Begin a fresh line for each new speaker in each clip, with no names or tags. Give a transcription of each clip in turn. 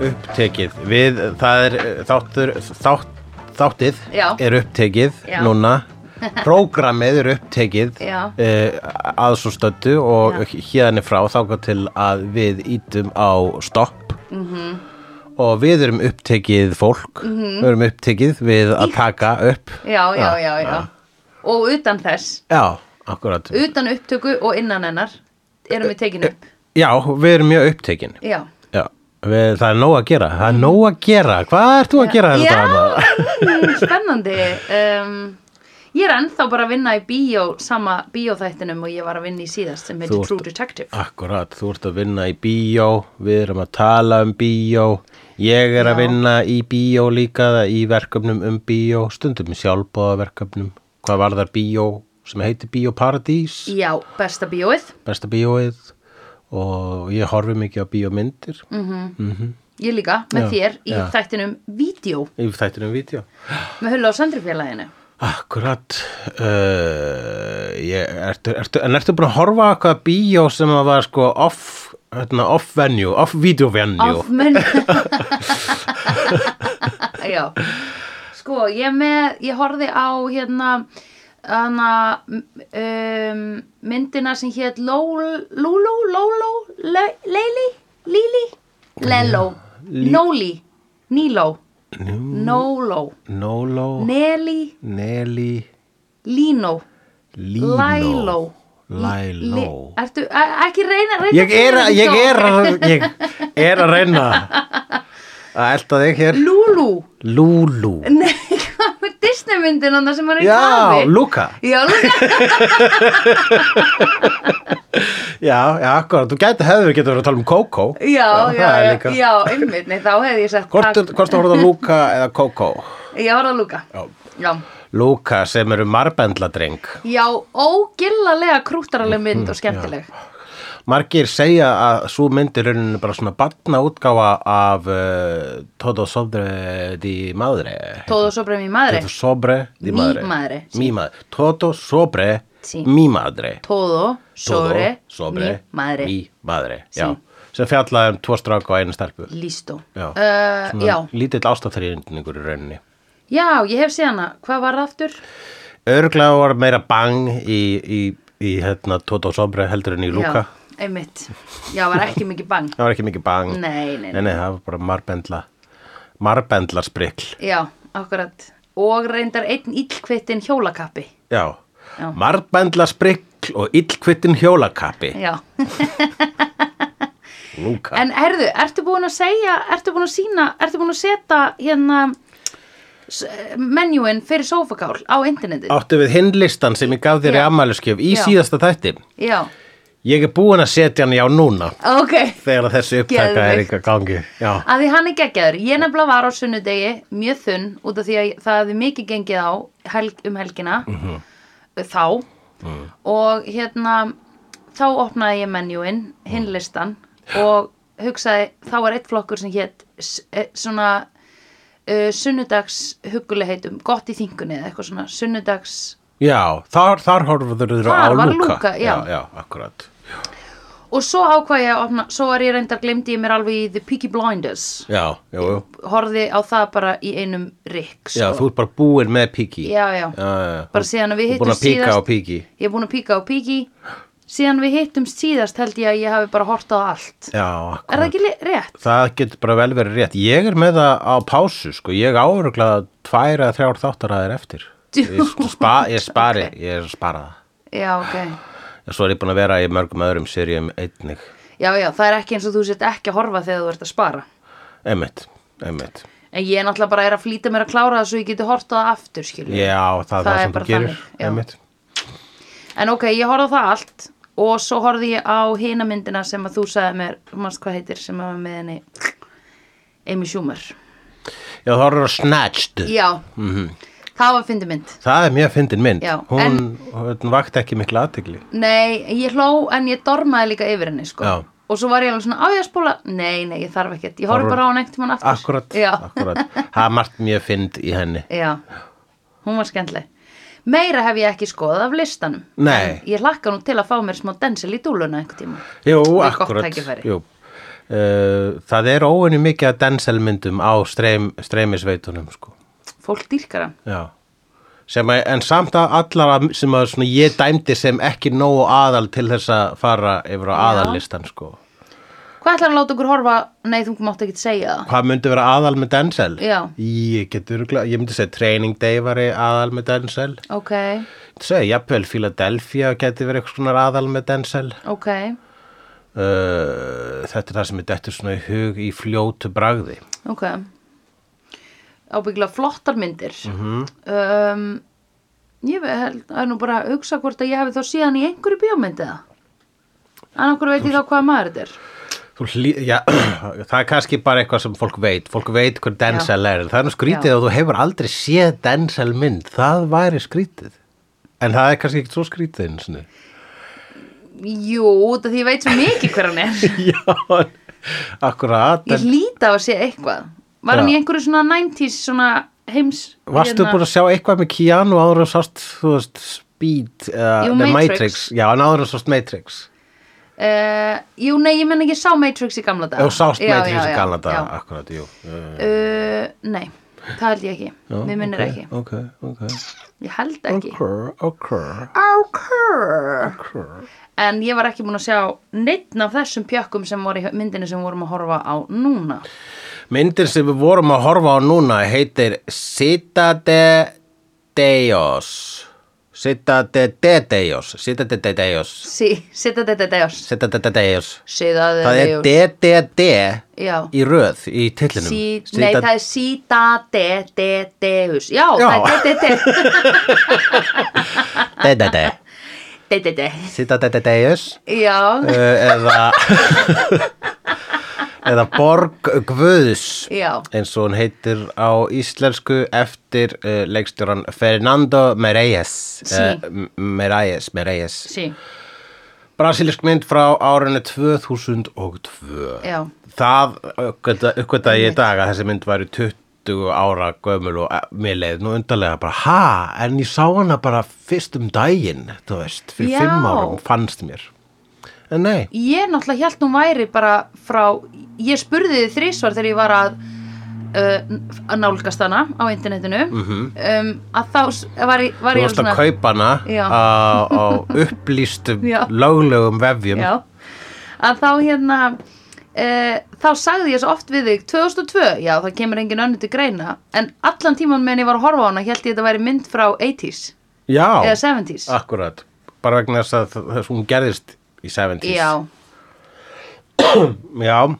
upptekið Við, það er eh, þáttur, þátt, þáttið
Já.
er upptekið
Já.
núna Prógrammið er upptekið
Já.
eh, að svo stöldu og
Já.
hérna frá þáka til að við ítum á stopp
Mhm.
-hmm. og við erum upptekið fólk -hmm. við erum upptekið við að taka upp
já,
Ah.
já, já, já. Og utan þess,
Já, akkurat
utan upptöku og innan hennar erum við tekin upp.
Já, við erum mjög upptekin
Já.
Já, við, það er nóg að gera Það er nóg að gera, hvað ert þú að gera
Já,
þetta annað?
mm, spennandi. Um, ég er ennþá bara að vinna í bíó, sama bíóþættinum og ég var að vinna í síðast sem heitir
Þú ert-
True Detective.
Akkurat, þú ert að vinna í bíó Við erum að tala um bíó Ég er að
Já.
vinna í bíó líka Í verkefnum um bíó Stundum í sjálfbóðaverkefnum Hvað var þar bíó sem heitir Bíó Paradís
Já, besta bíóið.
Besta bíóið Og ég horfi mikið á bíómyndir
Mm. Ég líka, með
Já,
þér, í
já.
þættinum Vídeó,
Í þættinum vídeo
með Hulla og Sandrifélaginu.
Akkurat uh, ég, ertu, ertu, En ertu búin að horfa á eitthvað bíó sem að var sko off, hérna, off venue, off video venue
Off menn Já Sko, ég er með, ég horfði á hérna hana, um, myndina sem hétt Lóló, Lóló, Leili, Líli, Leló, Nóli, Níló,
Nú,
Nóló,
Nóló,
Neli,
Nelly,
Línó,
Lino
Læló
Læló
Li- Ertu, e- ekki reyna, reyna
Ég er, að- ég, er að, ég er að reyna að elta þig hér
Lúlú
Lúlú
Nei, hvað með Disneymyndin hann sem hann er í
Já,
kafi?
Luka
Já, Luka
Já, já, akkurat, þú gæti hefur getur verið að tala um Coco
Já,
það
já,
er
já,
líka.
já, einmitt Nei, þá hefði ég sagt
Hvort
takk.
er- hvort þú horfðu að Luka eða Coco
Ég var að Luka
Já
Já,
Lúka sem eru marbendladreng
já ógillalega krúttaraleg mynd
Mhm,
og skemmtileg
margir segja að svo myndir rauninu bara svona batna útgáfa af uh, Todo Sobre di Madre
Tóð og sobrið mér maðri
Todo Sobre di
Mi
Madre,
madre, sí.
Mi madre. Todo Sobre
Sí.
Mi Madre
Tóð og
Todo
sobre
sobre
mi maðri
Mi Madre
Sí.
já, sem fjallaði um tvo strák og einu stelpu
Lístó
Já.
uh,
Svona
Eh, já.
lítill ástafþrýndingur í rauninni
já, ég hef séð hana Hvað var það aftur?
örglega var meira bang í, í, í hérna, Todo Sobre heldur en í Lúka
Já, einmitt Já, var ekki mikið bang
það var ekki mikið bang
Nei, nei,
Nei, nei, það var bara marbendla Marbendlarsprikl
Já, akkurat Og reyndar einn illkvittin hjólakappi
Já,
Já.
marbendlarsprikl og illkvittin hjólakappi
Já
Lúka
En herðu, ertu búin að segja, ertu búin að sína, ertu búin að setja hérna s- menjúin fyrir sófakál á internetið?
Áttu við hinn listan sem ég gaf þér í
Já.
ammæluskjöf í
Já.
síðasta þætti
Já,
Ég er búin að setja hann já núna
ok.
þegar þessi upptaka er
Geðveikt.
ykkar gangi Já,
Að því hann er geggjaður. Ég nefnilega var á sunnudegi mjög þunn út af því að það hefði mikið gengið á helg, um helgina þá og hérna þá opnaði ég menjúin, hinn listan og hugsaði, þá var eitt flokkur sem hétt s- eh, svona uh, sunnudags huggulegheitum, gott í þingunni eða eitthvað svona sunnudags
já þar, þar horfður þú á
Þar var
Lúka
Lúka, já.
já, akkurat
og svo ákvað ég að opna, svo var ég reyndar glemdi ég mér alveg í The Peaky Blinders
Já, já, já,
horfði á það bara í einum sko. rikk
já þú ert bara búin með píki
já, já.
já, já.
Bara síðan að við
Þú ert búin að
hittumst
píka á
síðast-
píki
ég er búin að píka á píki síðan við hittumst síðast held ég að ég hafi bara hortað á allt
Já, akkurat
er það ekki le- rétt?
Það getur bara vel verið rétt. Ég er með það á pásu, sko. Ég áuruglega tvær eða þrjár þáttaræðir eftir. Ég, spa, ég spari, ég er að spara það.
já, ok
En Svo er ég búin að vera í mörgum öðrum sérjum einnig.
já, já, það er ekki eins og þú sett ekki að horfa þegar þú ert að spara
Einmitt, einmitt.
en ég er náttúrulega bara er að flýta mér að klára það svo ég geti hortað aftur skilur við.
Já, það, það,
Það
það
er
sem
bara
þú gerir.
þannig, já.
Einmitt.
en ok, ég horfði á það allt og svo horfði ég á hina myndina sem að þú sagði mér, mannst hvað heitir sem að var með henni Amy Schumer
Já, það eru snatched.
já,
Mhm.
það var fyndi mynd
Það er mjög fyndin mynd.
Já,
hún,
en-
hún vakti ekki mikla aðtegli.
Nei, ég hló en ég dormaði líka yfir henni sko.
Já.
Og svo var ég alveg svona, á ég að spóla Nei, nei, ég þarf ekkert, ég horf
Horfur-
bara á hann ekkert mann aftur
Akkurat,
Já,
akkurat. Það er margt mjög fynd í henni.
já, hún var skemmtleg Meira hef ég ekki skoðað af listanum
Nei.
En Ég hlakka nú til að fá mér smá densil í dúluna einhver tíma
Jú,
gott
akkurat.
tækifæri.
Jú. Eh, uh, það er óinu mikið að denselmyndum á streym, streymisveitunum sko.
fólk dýrkar hann
Já. Sem að, en samt að allara sem að svona, ég dæmdi sem ekki nógu aðal til þess að fara yfir á aðallistan sko.
hvað ætlar hann að láta okkur horfa nei þú mátt ekki segja það
Hvað myndi vera aðal með Denzel?
Já.
Ég, getur, ég myndi segja Training Day væri aðal með Denzel.
ok,
Ég segi, jafnvel Philadelphia geti verið eitthvað svona aðal með Denzel.
ok,
Uh, þetta er það sem er dettur svona í hug í fljótu bragði.
ok ábyggilega flottar myndir
Mhm.
um, ég ve- held það er nú bara að hugsa hvort að ég hefði þá síðan í einhverju bíómyndi það en okkur veit ég þá hvað maður þetta er
Þú Hlý, já, það er kannski bara eitthvað sem fólk veit. Fólk veit hver Denzel er. Það er nú skrítið
Já.
að þú hefur aldrei séð Denzel mynd. Það væri skrítið. En það er kannski ekkert svo skrítið einu sinni.
jú, út af því ég veit svo mikið hver hann er
já, akkurat.
ég líti á að sé eitthvað var hann í einhverju svona 90s svona heims hérna,
Varstu búin að sjá eitthvað með Keanu áður og sást, þú veist, Speed eða
Jú,
The
Matrix.
Matrix. Já, en áður og sást Matrix.
Uh, jú, nei, ég menn ekki ég sá Matrix í gamla dag
Þú sást Matrix í Kanada, akkurat, jú.
uh, Nei, það held ég ekki Mér minnir ekki,
Ok, ok,
ég held ekki
ok, ok.
okay. En ég var ekki búin að sjá neittn af þessum pjökkum sem voru í myndinu sem við vorum að horfa á núna
Myndir sem við vorum að horfa á núna heitir Citade Deos. Citade de Deos. Citade de Deos.
Sí, Sita de Deus
Citade de Deos.
Sita de
Það er
Deus
DDD
Já.
í röð í tillinum.
Sí, nei, það er Sita de de Deus Já,
Já.
það er de de de
DDD.
De de de
Citade de Deos.
Já,
Eh, eða eða Borg Guðs
Já.
eins og hún heitir á íslensku eftir uh, leikstjóran Fernando Meirelles
Sí.
eh, M- Meirelles, Meirelles
sí,
brasilisk mynd frá árinu 2002
Já.
það uppgöta ég í dag að þessi mynd væri 20 ára gömul og eh, mér leið nú undarlega bara ha, en ég sá hana bara fyrst um daginn, þú veist fyrir
Já.
fimm árum fannst mér en nei
Ég náttúrulega hjælt hún væri bara frá, ég spurði þið þrísvar þegar ég var að, uh, að nálgast hana á internetinu um, að þá s- var ég, var
Mhm. Þú
ég
varst að kaupa hana
Já.
á, á upplýstum
Já.
löglegum vefjum.
já, að þá hérna uh, þá sagði ég svo oft við þig 2002, já það kemur engin önnur til greina en allan tíman meðan ég var að horfa á hana hjælt ég þetta væri mynd frá 80s eða
Já,
70s
akkurat. Bara vegna þess að þ- þess að hún gerðist í 70s.
Já,
Já.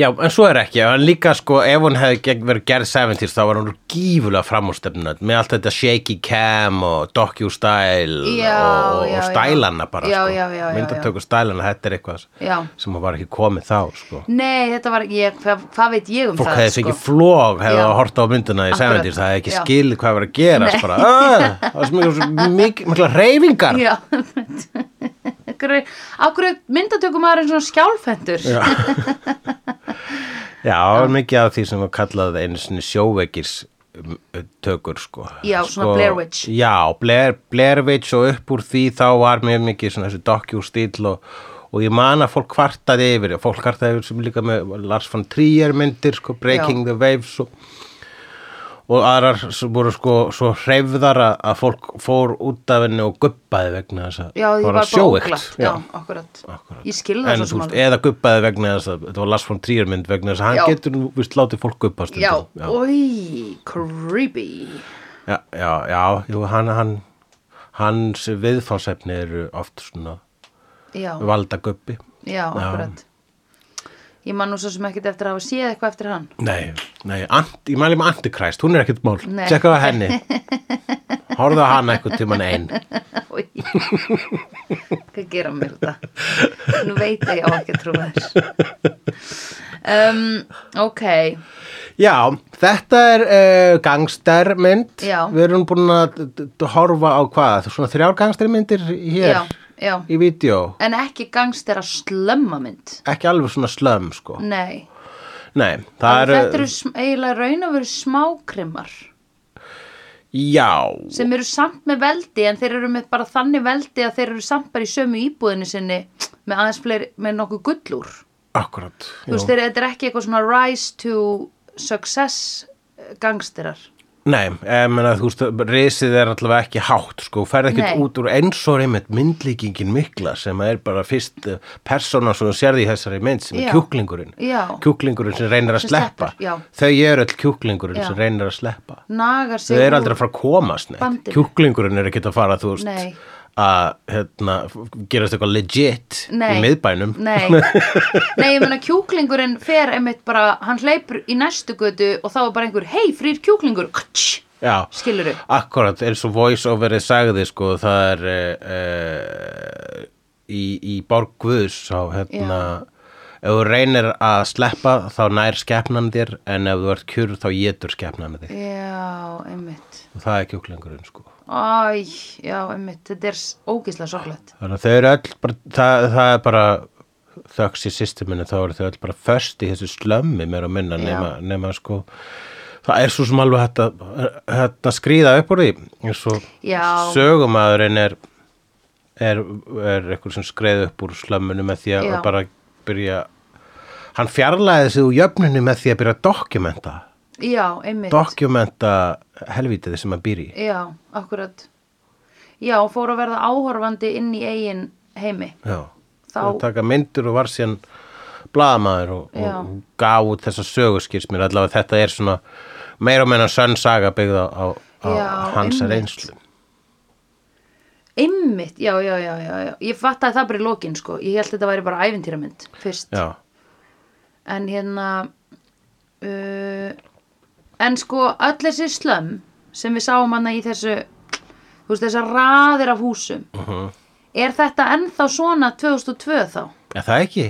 Já, en svo er ekki. En líka sko, ef hún hefði gegn- verið gerð 70s, þá var hún gífulega framúrstefnunat með allt þetta shaky cam og docu-style
Já,
og, og,
já,
og
já.
stælana bara.
Já,
sko.
já, já, já,
Myndatöku stælana, þetta er eitthvað
Já.
sem var ekki komið þá, sko.
nei þetta var, ég, hvað, hvað veit ég um
fólk
það
hefði
sko?
fengið flog hefði
Já.
að horta á myndina í
Akkurat,
70s það hefði ekki
já.
skilið hvað var að gerast bara, "Ah, það var svo mikil- svo mikil- mikla reyfingar
Já Akkur myndatökum maður er svona skjálfendur Já,
já, það var mikið af því sem var kallað einu sinni sjóveikis um, tökur sko
Já,
sko,
svona Blair Witch.
já, Blair, Blair Witch og upp úr því þá var mjög mikið svona þessi docu-stíl og, og ég man að fólk kvartaði yfir fólk kvartaði yfir sem líka með Lars von Trier myndir sko, Breaking the Waves og og aðrar sem voru sko svo hreyfðar að að fólk fór út af henni og guppaði vegna þess að
því
var
var
að sjóveikt.
óglatt
Já,
Já, akkurat Ég skil það
en, þú
svo sem
veist,
alveg
eða guppaði vegna þess að þetta var Lars von Trier mynd vegna þess að hann
Já.
getur nú vist látið fólk guppa stundum
Já,
já,
oi, creepy
já, já, já jú, hann, hann, hans viðfánsefni eru oft svona
Já,
valda guppi
já, akkurat Ég man nú svo sem ekkert eftir að hafa séð eitthvað eftir hann
nei, nei, ant, ég mæli með Antikræst hún er ekkert mál,
Nei.
tjekka á henni horfðu á hana eitthvað tíman einn
Oi Hvað gera mér þetta? Nú veit ég á ekki að trúa þess um, Ok
Já, þetta er uh, gangstermynd
Já.
Við erum búin að d- d- horfa á hvað Svona þrjár gangstermyndir hér
Já, já
í vídeo
En ekki gangstera slömma mynd
Ekki alveg svona slömm sko
Nei,
Nei, það eru
þetta eru sm- eiginlega raun og veru smákrimmar
Já,
sem eru samt með veldi en þeir eru með bara þannig veldi að þeir eru samt bara í sömu íbúðinu sinni með aðeins fleiri, með nokkuð gullúr
akkurat
þú veist,
já.
þeir, þetta er ekki eitthvað svona rise to success eh, gangsterar
Nei, ég meina, þú veist, risið er allavega ekki hátt, sko, ferð ekkert
Nei.
út úr eins og reymet myndlíkingin mikla sem er bara fyrst eh, persóna sem þú sérði í þessari mynd sem
Já.
er kjúklingurinn.
Já.
Kjúklingurinn sem reynir að
Sem
sleppa.
sleppur, já.
Þau eru öll kjúklingurinn
Já.
sem reynir að sleppa.
nagar sig
Þau eru
úr-
aldrei að fara að komast, neitt.
bandinu.
Kjúklingurinn er ekkert að fara, þú
Nei.
veist, að hérna, gerast eitthvað legit
Nei.
í miðbænum.
Nei, nei, ég meina kjúklingurinn fer einmitt bara, hann hleypur í næstu götu og þá er bara einhver, hei, frýr kjúklingur, kutsch,
Já.
skilurðu.
Akkurat, eins og voice overið sagði sko, það er uh, í, í Borg Guðs á hérna ef þú reynir að sleppa þá nær skepnan þér en ef þú ert kjur þá getur skepnan þig
Já, einmitt.
og það er kjúklingurinn sko
Æ, já, einmitt, þetta er s- ógeðslega sorglegt.
þannig að þau eru öll bara, það, það er bara þöks í systeminu þá eru þau öll bara föst í þessu slömmi meira og minna
Já.
nema, nema sko það er svo sem alveg hægt að, hægt að skrýða upp úr því eins og
Já.
sögumæðurinn er er, er eitthvað sem skreið upp úr slömminu með því að
Já.
bara byrja hann fjarlæði sig úr jöfninu með því að byrja að dokumenta
Já, einmitt.
dokumenta helvítið sem að býr í
Já, akkurat. Já, fór að verða áhorfandi inn í eigin heimi.
Já,
Þá-
þá... taka myndir og var síðan blaðamaður og,
Já.
og gaf út þessa sögurskýrs mér allavega þetta er svona meira og meina sönn saga byggða á, á
Já,
hans
einmitt.
reynslu
Einmitt, já, já, já, já, já. Ég fattaði það bara í lokin, sko. Ég held þetta væri bara ævintýramynd fyrst.
Já,
En hérna, uh, en sko öll þessi slömm sem við sáum hana í þessu, þú veist, þessar raðir af húsum.
Uh-huh.
Er þetta ennþá svona 2002 þá?
er það ekki?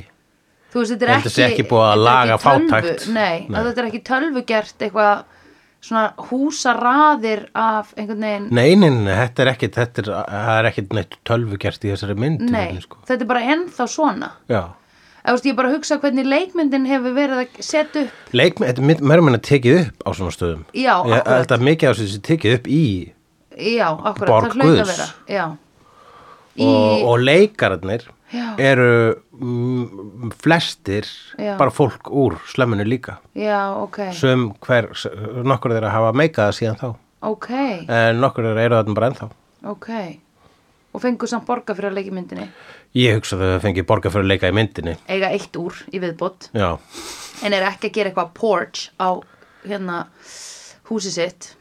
Þú veist, þetta
Ég
er
held
ekki...
að sé ekki búið að
þetta er
laga
ekki tölvu-
fátækt.
Nei,
Nei.
að þetta er ekki tölvugert eitthvað svona húsaraðir af einhvern veginn...
Nei, nei, nei, þetta er ekkit, þetta er, það er ekkit neitt tölvugert í þessari mynd í rauninni, sko.
þetta er bara ennþá svona.
Já,
Eða, Þú veist, ég bara hugsa hvernig leikmyndin hefur verið að setja upp
leikmið, þetta er mynd- meira og minna tekið upp á svona stöðum
Já,
Ég-
akkurat.
Þetta er mikið af þessu sem tekið upp í
Já, akkurat,
Borg
það hlaut að
Guðs.
vera Já, í,
og, E- og leikararnir
Já.
eru mm, flestir
Já.
bara fólk úr slemminu líka
já ok
sem hver, nokkur þeirra hafa meikað það síðan þá
Ok,
en nokkur þeirra eru þarna bara ennþá
ok Og fengur samt borga fyrir að leiki myndinni
ég hugsa þau að fengi borga fyrir að leika í myndinni
Eiga eitt úr í viðbót
já,
En er ekki að gera eitthvað porch á hérna húsi sitt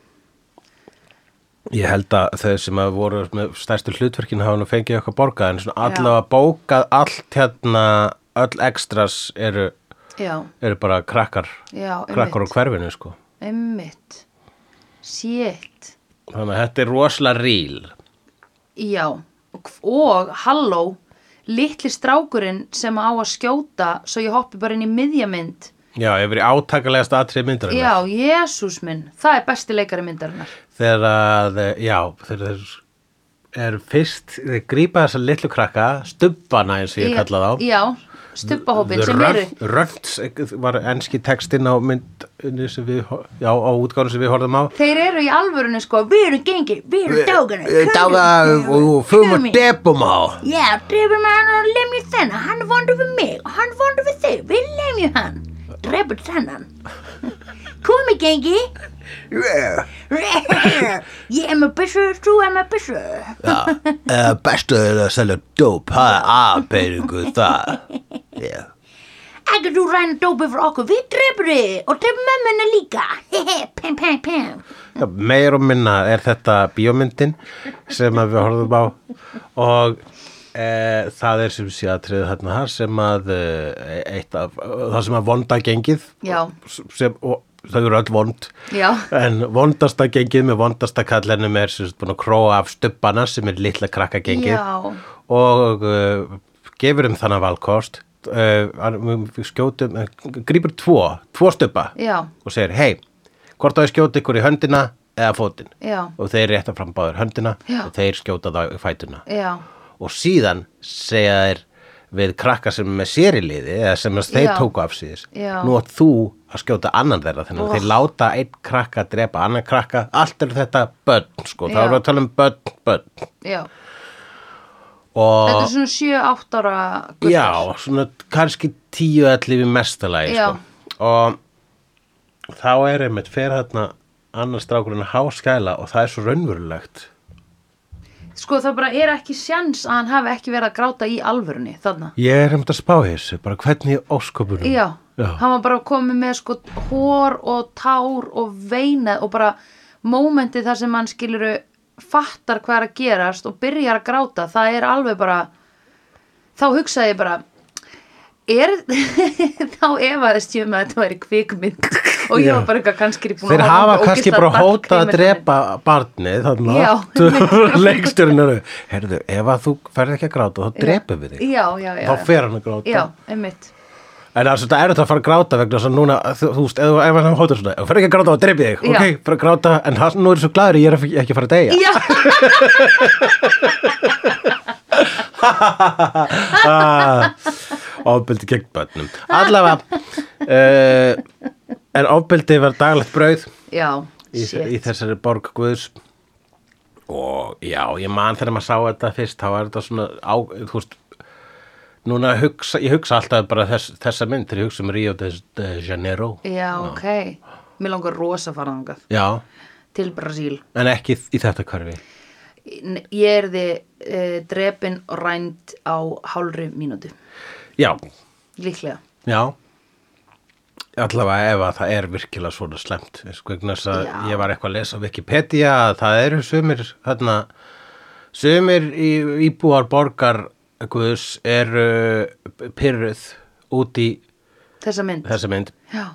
ég held að þau sem að voru með stærstu hlutverkin hafa nú fengið eitthvað borgað en svona allavega bókað allt hérna, öll extras eru,
Já,
eru bara krakkar
Já, einmitt.
krakkar úr hverfinu sko
einmitt Shit
þannig að þetta er rosalega ríl
Já, og, og halló, litli strákurinn sem á að skjóta svo ég hoppi bara inn í miðjamynd.
já, ég hef verið átakalegast atrið myndarinn
Já, Jésús minn, það er besti leikari myndarinnar.
þegar að, eh, já, þegar þeir er fyrst, þeir grípa þessa litlu krakka, stubbana eins og ég
Já,
kalla þá.
Já, stubbahópin sem eru
Rönt eh, var enski textinn á mynd sem við, ho- já, á útgáðum sem við horfðum á.
Þeir eru í alvörunni sko, við erum gengið, við erum dágana
Daga Eh, og fum og debum um á.
Já, drefum hann og lemjum þennan, hann er vondur við mig og hann er vondur við þig, við lemjum hann Drefum þennan Komi gengi
Yeah.
Ég er með byssu, þú er með byssu
Já, eh, bestu er að selja dóp, það er aðbeiringu það. Já.
Ekki þú ræna dópið fyrir okkur, við drefum þig og drefum mömmuna líka Hehe, pam, pam, pam
Já, meir og minna er þetta bíómyndin sem að við horfum á og e, það er sem sé aðtriðið þarna þar sem að e, eitt af, það sem að vonda gengið
Já.
sem, og það eru öll vond
Já.
en vondasta gengið með vondasta kallenum er sem sagt búin að króa af stubbana sem er litla krakka gengið
Já.
og e, gefur um þannig valkost e, skjótum, eh, grípur tvo tvo stubba
Já.
og segir hei, hvort á ég skjóta ykkur í höndina eða fótinn
Já.
og þeir rétta fram báður höndina
Já.
og þeir skjóta þá í fætuna
Já,
og síðan segja þeir við krakka sem er með sér í liði eða sem að þeir
Já.
tóku af síðis
Já.
nú átt þú að skjóta annan þeirra þannig
Oh.
að þeir láta einn krakka drepa annan krakka, allt er þetta börn sko, þá
Já.
erum við að tala um börn, börn
já
og
Þetta er svona 7-8 ára guttar.
Já, svona kannski tíu elli við mestalagi
Já.
sko. og þá er einmitt fer þarna annars strákurinn að háskæla og það er svo raunverulegt
Sko það bara er ekki sjans að hann hafi ekki verið að gráta í alvörunni þarna.
ég er einmitt að spá í þessu, bara hvernig í ósköpunum
Já, hann var bara komið með sko hór og tár og veinað og bara mómenti þar sem hann skiluru fattar hvað er að gerast og byrjar að gráta, það er alveg bara þá hugsaði ég bara er þá efaðist ég með að þetta væri kvikmynd og ég
Já.
var bara eitthvað kannski er ég búin
Þeir
að horfa á
hafa
ógeðslega
kannski bara
dark
hótað að
kvikmynd.
drepa barnið
Já.
þannig að leikstjörn eru Herðu, ef að þú ferð ekki að gráta þá drepum við þig
Já, já, já
Þá fer hann að gráta
Já, einmitt
En það er svolítið erfitt að fara að gráta vegna þess að núna, þú þú veist, ef ef hann hótað svona Ef þú fer ekki að gráta þá drepið þig,
Já.
ok, fer að gráta En það, nú er svo glæður ég er ekki- ekki að fara að deyja
Já,
Ah, ofbeldi gegn börnum allavega uh, en ofbeldi var daglegt brauð
já,
í,
shit
í þessari borg Guðs og já, ég man þegar maður sá þetta fyrst þá var þetta svona á, þú veist núna hugsa, ég hugsa alltaf bara þess, þessa mynd þegar ég hugsa um Rio de, de Janeiro
Já, ok Mér langar rosa að fara þangað
já,
til Brasíl
en ekki í þetta hverfi
Ég er þið uh, drepin og rænd á hálfri mínútu,
já,
líklega.
já allavega ef að það er virkilega svona slemt vegna þess að
Já.
ég var eitthvað að lesa á Wikipedia að það eru sumir þarna, sumir í, íbúar borgar Guðs eru pyrruð út í
Þessa mynd.
þessa mynd
Já,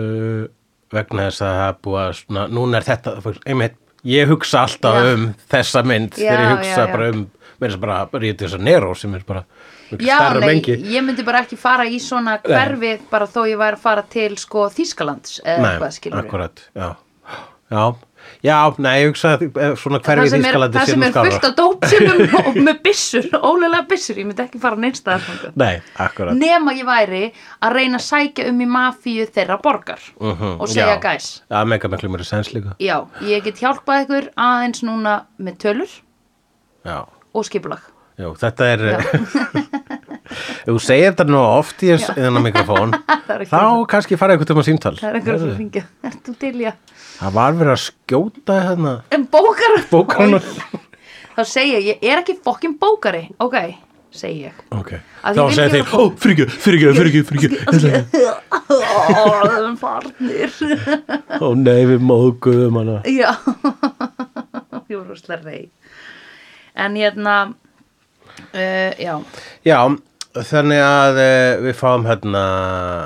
uh, vegna þess að það er búið að svona, núna er þetta fólk- einmitt, ég hugsa alltaf
Já.
um þessa mynd
Já,
þegar ég hugsa
já, já.
bara um mér er bara Rio de Janeiro sem er bara miklu
Já
stærra
nei,
mengi
ég myndi bara ekki fara í svona hverfi bara þó ég væri að fara til sko Þýskalands eða eitthvað skilur
akkurat, já já, já, nei, ég hugsa að eh, svona
Það
hverfið
sem er,
Ískalandi
það sem er fullt af dópsimum og með byssur, ólega byssur, ég myndi ekki fara neinstað þangað.
nei, akkurat
Nema ég væri að reyna að sækja um í mafíu þeirra borgar og segja
já.
gæs.
já, mega miklu mér sens líka
Já, ég get hjálpað ykkur aðeins núna með tölur
já,
og skipulag.
já þetta er ef þú segir þetta nú oft í þess- þennan mikrofón
Það er ekki
þá kannski fara eitthvað um að símtal
Það er einhverjum sem ringja. Ert þú til, já.
það var verið að skjóta hérna
En bókar?
bókan
Þá segi ég, ég er ekki fokkin bókari. Ok, segi ég.
ok, þá
Að ég vil
segir
gera
þeir ó, fyrir ekki, fyrir ekki, fyrir ekki, fyrir ekki
Ó, farnir.
ó nei, við móðguðum hana
Já. Ég var rústlega reið. En hérna, uh, já,
Já, þannig að uh, við fáum hérna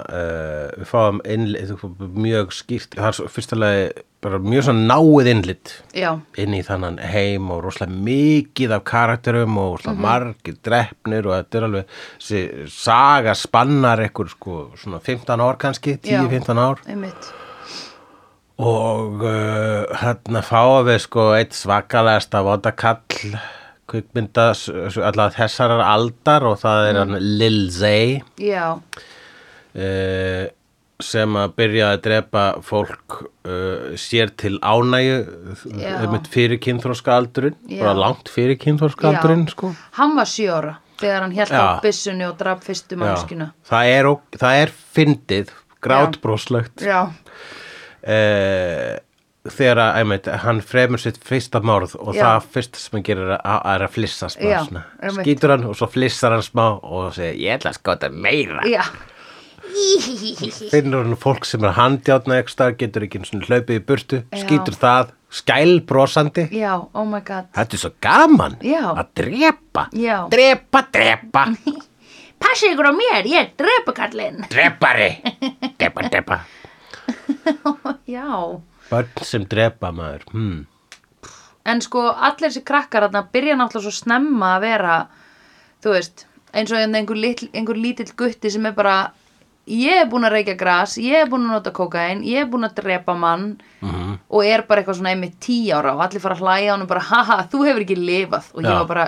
uh, við fáum innlit mjög skýrt, það er svo fyrsta lagi bara mjög svona náið innlit
já,
inn í þannan heim og rosalega mikið af karakterum og rosalega margir drefnir og þetta er alveg þessi saga spannar ekkur sko svona 15 ár kannski,
Já.
10-15 ár
einmitt.
og uh, hérna fáum við sko eitt svakalegasta vodakall kvikmynda s- s- allavega þessarar aldar og það
Mm.
er hann Lil Zay
Já,
uh, sem að byrja að drepa fólk uh, sér til ánægju
Já.
um fyrir kynþróska aldurinn
Já.
bara langt fyrir kynþróska
já.
aldurinn sko.
Hann var sjö ára þegar hann held
Já.
á byssunni og draf fyrstu mannskina.
það er, ok- það er fyndið grátbróslegt
Já,
uh, þegar að einmitt, hann fremur sitt fyrsta morð og
Já.
það fyrst sem hann gerir er að, er að flissa smá
Já,
svona.
einmitt.
skýtur hann og svo flissar hann smá og segir ég ætla að skota meira
já,
finnur hann fólk sem er handjátna ekstar getur ekki einu sinni hlaupið í burtu
Já.
skýtur það, skælbrosandi
já, oh my god.
þetta er svo gaman
Já.
að drepa
Já.
drepa, drepa,
Passi ykkur á mér, ég drepa kallinn.
drepari drepa, drepa
Já.
börn sem drepa maður hmm.
En sko, allir þessi krakkar þarna byrja náttúrulega svo snemma að vera, þú veist, eins og hérna einhver, litl, einhver lítill gutti sem er bara, ég er búin að reykja gras, ég er búin að nota kókain, ég er búin að drepa mann
Mhm.
og er bara eitthvað svona einmitt tí ára og allir fara að hlæja hann og bara, haha, þú hefur ekki lifað og ég
Já.
var bara,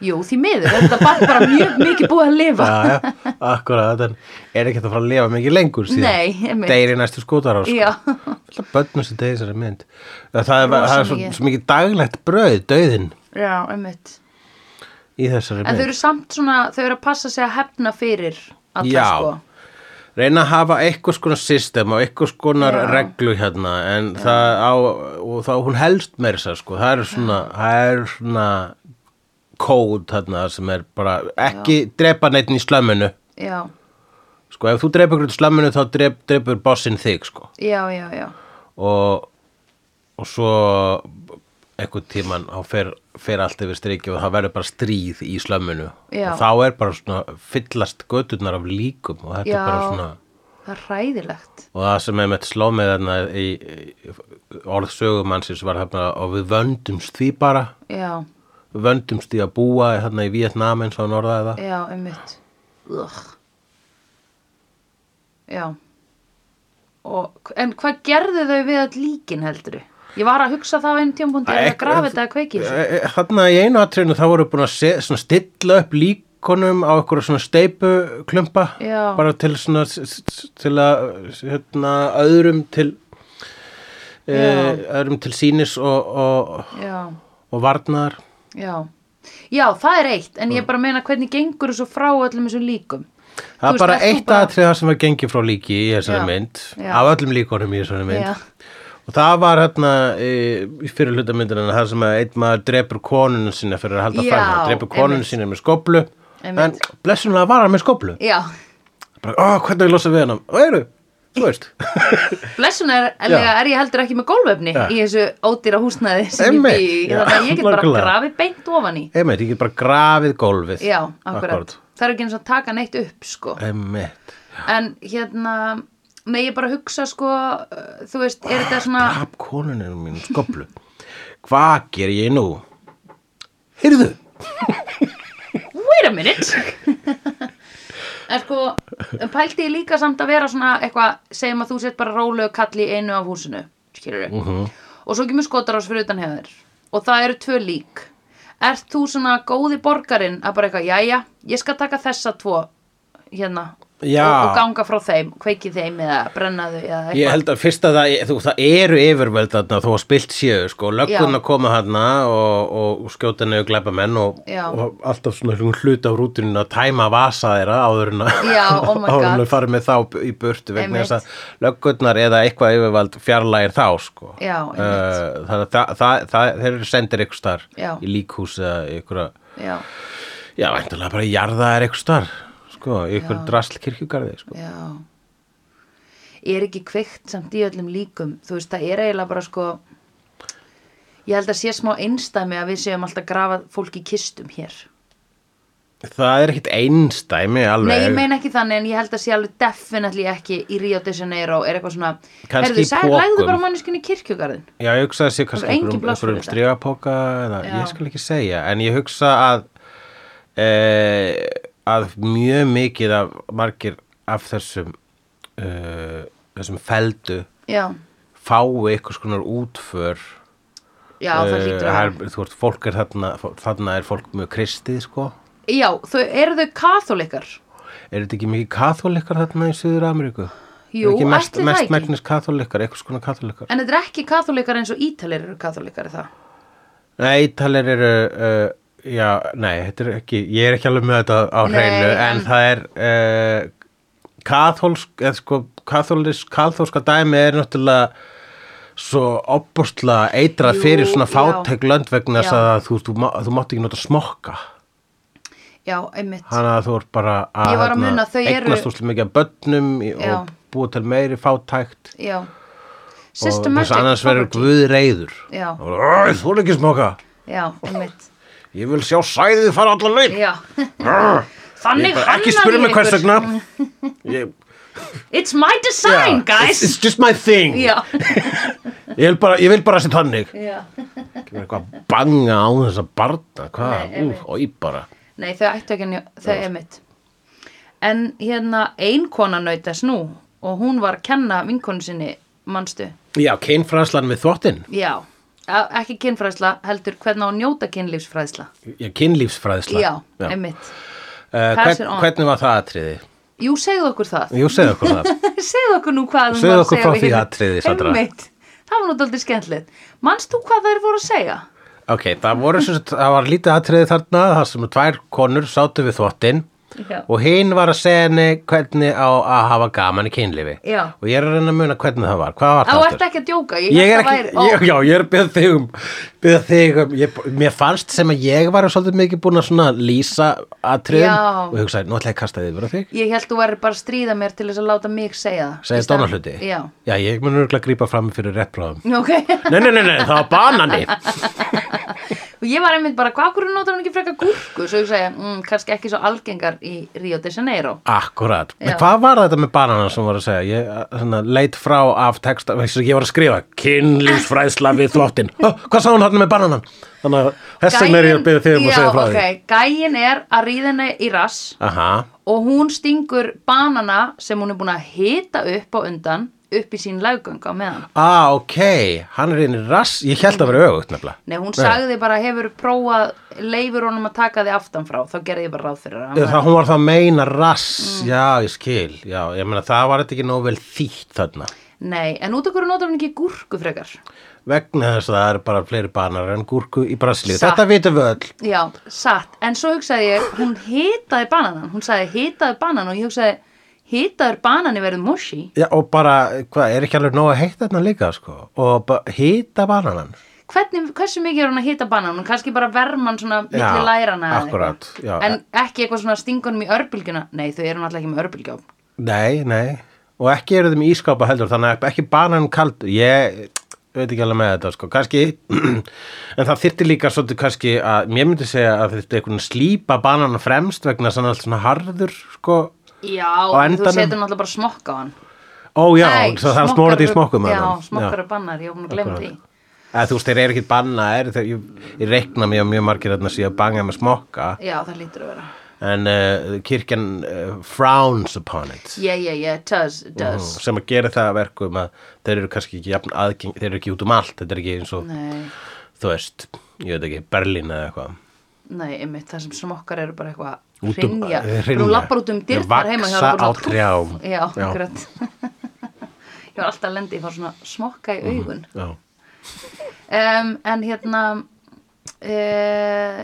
jú, því miður, þetta bara, bara mjög mikið búið að lifa.
Já, já, akkurat, en er ekki hægt að fara að lifa mikið lengur síðan.
Nei, einmitt.
Deyri næstu skotar á, sko.
Já.
Alltaf börnum sem deyri þessari mynd. Það, það er, það er svo,
mikið.
svo mikið daglegt brauð, dauðinn
Já, einmitt.
í þessari
En þau
mynd.
eru samt svona, þau eru að passa sig að hefna fyrir allar
Já.
sko
reyna að hafa einhvers konar system og einhvers konar reglu hérna en það á, og þá hún helst meir sér sko, það er svona það er svona kód þarna sem er bara ekki drepa neitt í slömminu
já,
sko, ef þú drepa ykkur í slömminu þá drep, drepur bossinn þig sko
já, já, já
og, og svo einhvern tíman þá fer, fer allt yfir striki og það verður bara stríð í slömminu og
Já.
þá er bara svona fyllast göturnar af líkum og þetta
já,
er bara svona
það er ræðilegt
og það sem er með sló með þarna í, í orðsögumannsins var þarna og við vöndumst því bara
já,
við vöndumst því að búa þarna í Vietnam eins og hann orðaði það
já, einmitt Ugh. já og, en hvað gerðu þau við all líkin heldur ég var að hugsa það á einu tímpúndi að grafa þetta að kveiki í þessu.
E- e- þarna í einu atriðinu þá voru búin að se, svona, stilla upp líkonum á einhverja svona steipu klumpa
Já.
bara til svona s- s- til að hérna, öðrum til e,
Já.
öðrum til sínis og, og,
já
og varnar
Já, já það er eitt en ég bara meina hvernig gengur þessu frá öllum þessum líkum
Mm. það
Þú
er bara
veist, ert þú
eitt bara... atrið það sem að gengi frá líki í þessari
Já.
mynd
Já.
af öllum líkonum í þessari mynd
Já.
og það var hérna e, fyrir hlutamyndurinn það sem að einn maður drepur konunum sinna fyrir að halda
Já,
fram hann drepur konunum
einmitt.
sinna með skoblu en
Einmitt.
blessunlega var hann með skoblu
Já,
bara, ó, hvernig er ég losað við hann og eru, þú veist
blessun er, ellega, er ég heldur ekki með gólföfni
Já.
í þessu ódýra húsnæði sem
Einmitt,
ég bý í.
já,
þannig að ég get bara
nákvæmlega.
grafið beint ofan í
einmitt, ég get bara grafið gólfið
Já, akkurat, það er ekki eins og að taka neitt upp sko.
einmitt,
en hérna nei ég bara hugsa sko uh, þú veist, er þetta svona
draf konunum mín skoblu hvað ger ég nú heyrðu,
wait a minute en sko en pældi ég líka samt að vera svona eitthvað segjum að þú sett bara rólegu kalli í einu af húsinu skilur við og svo kemur skotarás fyrir utan hefðir og það eru tvö lík ert þú svona góði borgarinn að bara eitthvað, jæja, ég skal taka þessa tvo hérna
Já.
og, og ganga frá þeim, kveiki þeim eða brenna þau eða
ég
eitthvað
held að fyrst að það, þú, það eru yfirvöld þarna þó að spilt séu, sko, löggun
Já.
að koma þarna og, og, og skjóta niður glæpa menn og,
Já.
og alltaf svona einhvern hlut á rútinu að tæma vasa þeirra áður en að
Já, oh my
áður en
God.
að fara með þá í burtu vegna
Einmitt.
þess að löggunnar eða eitthvað yfirvald fjarlægir þá, sko
Já,
uh,
einmitt.
þannig að það, það, það, þeir eru sendir ykkur star
Já.
í líkhús eða í ykkur að
já,
já, væntulega bara jarða er ykkur star sko, í ykkur drasl kirkjugarði, sko
já er ekki kveikt samt í öllum líkum þú veist, það er eiginlega bara sko ég held að sé smá einstæmi að við séum alltaf að grafa fólk í kistum hér
það er ekkit einstæmi alveg
Nei, ég meina ekki þannig en ég held að sé alveg definitely ekki í Rio de Janeiro er eitthvað svona
Kannski
Heyrðu,
í
sagði- Lagðu
pokum.
bara manneskinni í kirkjugarðin
Já, ég hugsa að sé kannski
Það er engin
einhverjum,
pláss fyrir
einhverjum
þetta.
stríðapóka eða
Já.
ég skal ekki segja, en ég hugsa að e, að mjög mikið af margir af þessum e, þessum feldu
Já,
fái einhvers konar útför
já, það
Eh,
lítur að
er- þú veist, fólk er þarna þarna er fólk mjög kristið, sko
Já, þau, eru þau katholikar?
Er þetta ekki mikið katholikar þarna í Suður Ameríku?
Jú,
er ekki mest,
ætli það
mest
ekki.
megnis katholikar, einhvers konar katholikar
En þetta er ekki katholikar eins og ítalir eru katholikar er það
Nei, Ítalir eru, uh, já, nei, þetta er ekki, ég er ekki alveg með þetta á
Nei,
hreinu, en,
en-
það er uh, kathólsk, eða sko, kathólsk, kathólska dæmi er náttúrulega svo opbúrsla eitrað
Jú,
fyrir svona
já.
fátæk lönd vegna þess
Já.
að þú, þú, má- þú mátt ekki nota smokka.
Já, einmitt
Þannig að þú ert bara að,
Ég var að
hérna,
muna að þau eru-
eignast úrslega mikið af börnum í-
Já.
og búið til meiri fátækt
Já
og þess
Systematic
að annars verður
poverty.
guð reyður.
Já.
Og bara, "Æ, Þú er ekki smokka.
Já, einmitt
Ég vil sjá sæðið fara allan leið.
Já
Ég
Þannig
bara
hannaði
ekki spyrja mig
ég
hvers
ykkur.
vegna Ég-
It's my design,
Já,
guys
it's, it's just my thing
Já,
ég, vil bara, ég vil bara sér þannig
já
Ekki vera eitthvað að banga á þessa barna Hvað,
Nei,
úf, og ég bara
Nei, þau ættu ekki að þau er mitt. En hérna ein kona naut þess nú og hún var að kenna vinkonu sinni, manstu?
Já, kynfræðslan með þvottinn
Já, e- ekki kynfræðsla, heldur hvernig á að njóta kynlífsfræðsla.
Já, kynlífsfræðslan
Já, einmitt.
Eh,
Pass
hvern,
it on.
Hvernig var það atriði?
Jú, segðu okkur það.
Jú, segðu okkur það
segðu okkur nú hvað hún
Segðu
var að
okkur
segja.
frá
við
því
hinn.
atriði, Sandra.
Einmitt, það var nú daldið skemmtilegt. Manst þú hvað þær voru að segja?
Ok, það, voru, sem sagt- það var lítið atriði þarna Það sem tvær konur sátu við þvottinn
Já.
og hinn var að segja henni hvernig á að hafa gaman í kynlifi
Já.
og ég er að reyna að muna hvernig það var hvað var
Þá
það aftur?
ert ekki að djóka, ég,
ég
hélt
er
að
ekki,
væri- ó,
ég, já, ég er byggð þig um byggð þig um, ég, mér fannst sem að ég var svolítið mikið búin að svona lýsa atriðum
Já.
og hugsaði, nú ætla ég að kasta þig yfir á þig
Ég held þú væri bara að stríða mér til þess að láta mig segja það Í
segja
staðinn-
dónahluti,
Já,
já, ég mun örgulega grípa fram fyrir réttbráðum,
ok
nei, nei, nei, nei, það var banani
Og ég var einmitt bara, hvað hverju notar hann ekki frekar gúrku Svo ég segja, mm, kannski ekki svo algengar í Rio de Janeiro
Akkurat,
Já.
en hvað var þetta með banana sem var að segja, ég svona, leit frá af texta, vegna þess að ég var að skrifa kynlífsfræðsla við þvottin Hó, hvað sá hún hann með bananan þannig að þess vegna er ég að byrja þig um að
Já,
segja frá
ok. Gæin er að ríðina í rass
því aha,
og hún stingur banana sem hún er búin að hita upp á undan upp í sín laggöng á meðan
ah, ok hann er inn í rass, ég held að vera öfugt nefnilega
Nei, hún sagði bara hefur prófað leifur honum að taka þig aftan frá þá gerði ég bara ráð fyrir hann
Eða
var-
Það, hún var það að meina rass,
Mm.
já, ég skil, já, ég meina það var þetta ekki nóg vel þýtt þarna,
Nei, en út af hverju notar hún ekki gúrku frekar
vegna þess að það eru bara fleiri banar en gúrku í Brasilíu,
Satt.
þetta vitum við öll,
Já, satt, en svo hugsaði ég hún hitaði bananan, hún sagði hitaði banan og ég hugsaði hitaður banani verið moshi
já, og bara, hvað, er ekki alveg nóg að heita þarna líka, sko, og hýta bananan,
Hvernig, hversu mikið er hún að hita banan hún kannski bara verman svona milli
Já,
lærana eða
akkurat,
eitthvað.
já.
en ekki eitthvað svona stingunum í örbylgjuna nei þau eru náttúrulega ekki með örbylgjá
nei, nei, og ekki eru þeim í ískápa heldur, þannig að ekki banan kaldur, ég veit ekki alveg með þetta, sko, kannski, en það þyrfti líka svolítið kannski að, mér myndi segja að þyrfti einhvern slípa banan fremst vegna svona, svona harður, sko,
já, þú
endanum-
setur náttúrulega bara smokk á hann
Ó já,
Nei,
svo það er
smokkar
smórandi í
eru-
smokkum
já,
þarna.
smokkar er bannar, ég er búin að glemma því
Akkurat. Eða, þú veist, þeir eru ekki bannaðir, þeir, ég, ég reikna mjög, mjög margir þarna síðan banga með smokka,
já, það lítur að vera
en uh, kirkjan uh, frowns upon it,
yeah, yeah, yeah, it does, it
Mm,
does
sem að gera það að verkum að þeir eru kannski ekki jafn aðgeng, þeir eru ekki út um allt, þetta er ekki eins og,
nei,
þú veist, ég veit ekki, Berlín eða eitthvað.
nei, einmitt, það sem smokkar eru bara eitthvað
Út um-
hrynja,
eh, hrynja.
þú lappar út um
Þeir
dyrnar heima hjá
vaxa
þér bara
á
svona-
trjám.
já,
Já.
akkurat ég var alltaf að lendi, ég fór svona smokka
Mhm.
í augun
Já.
um, en hérna uh,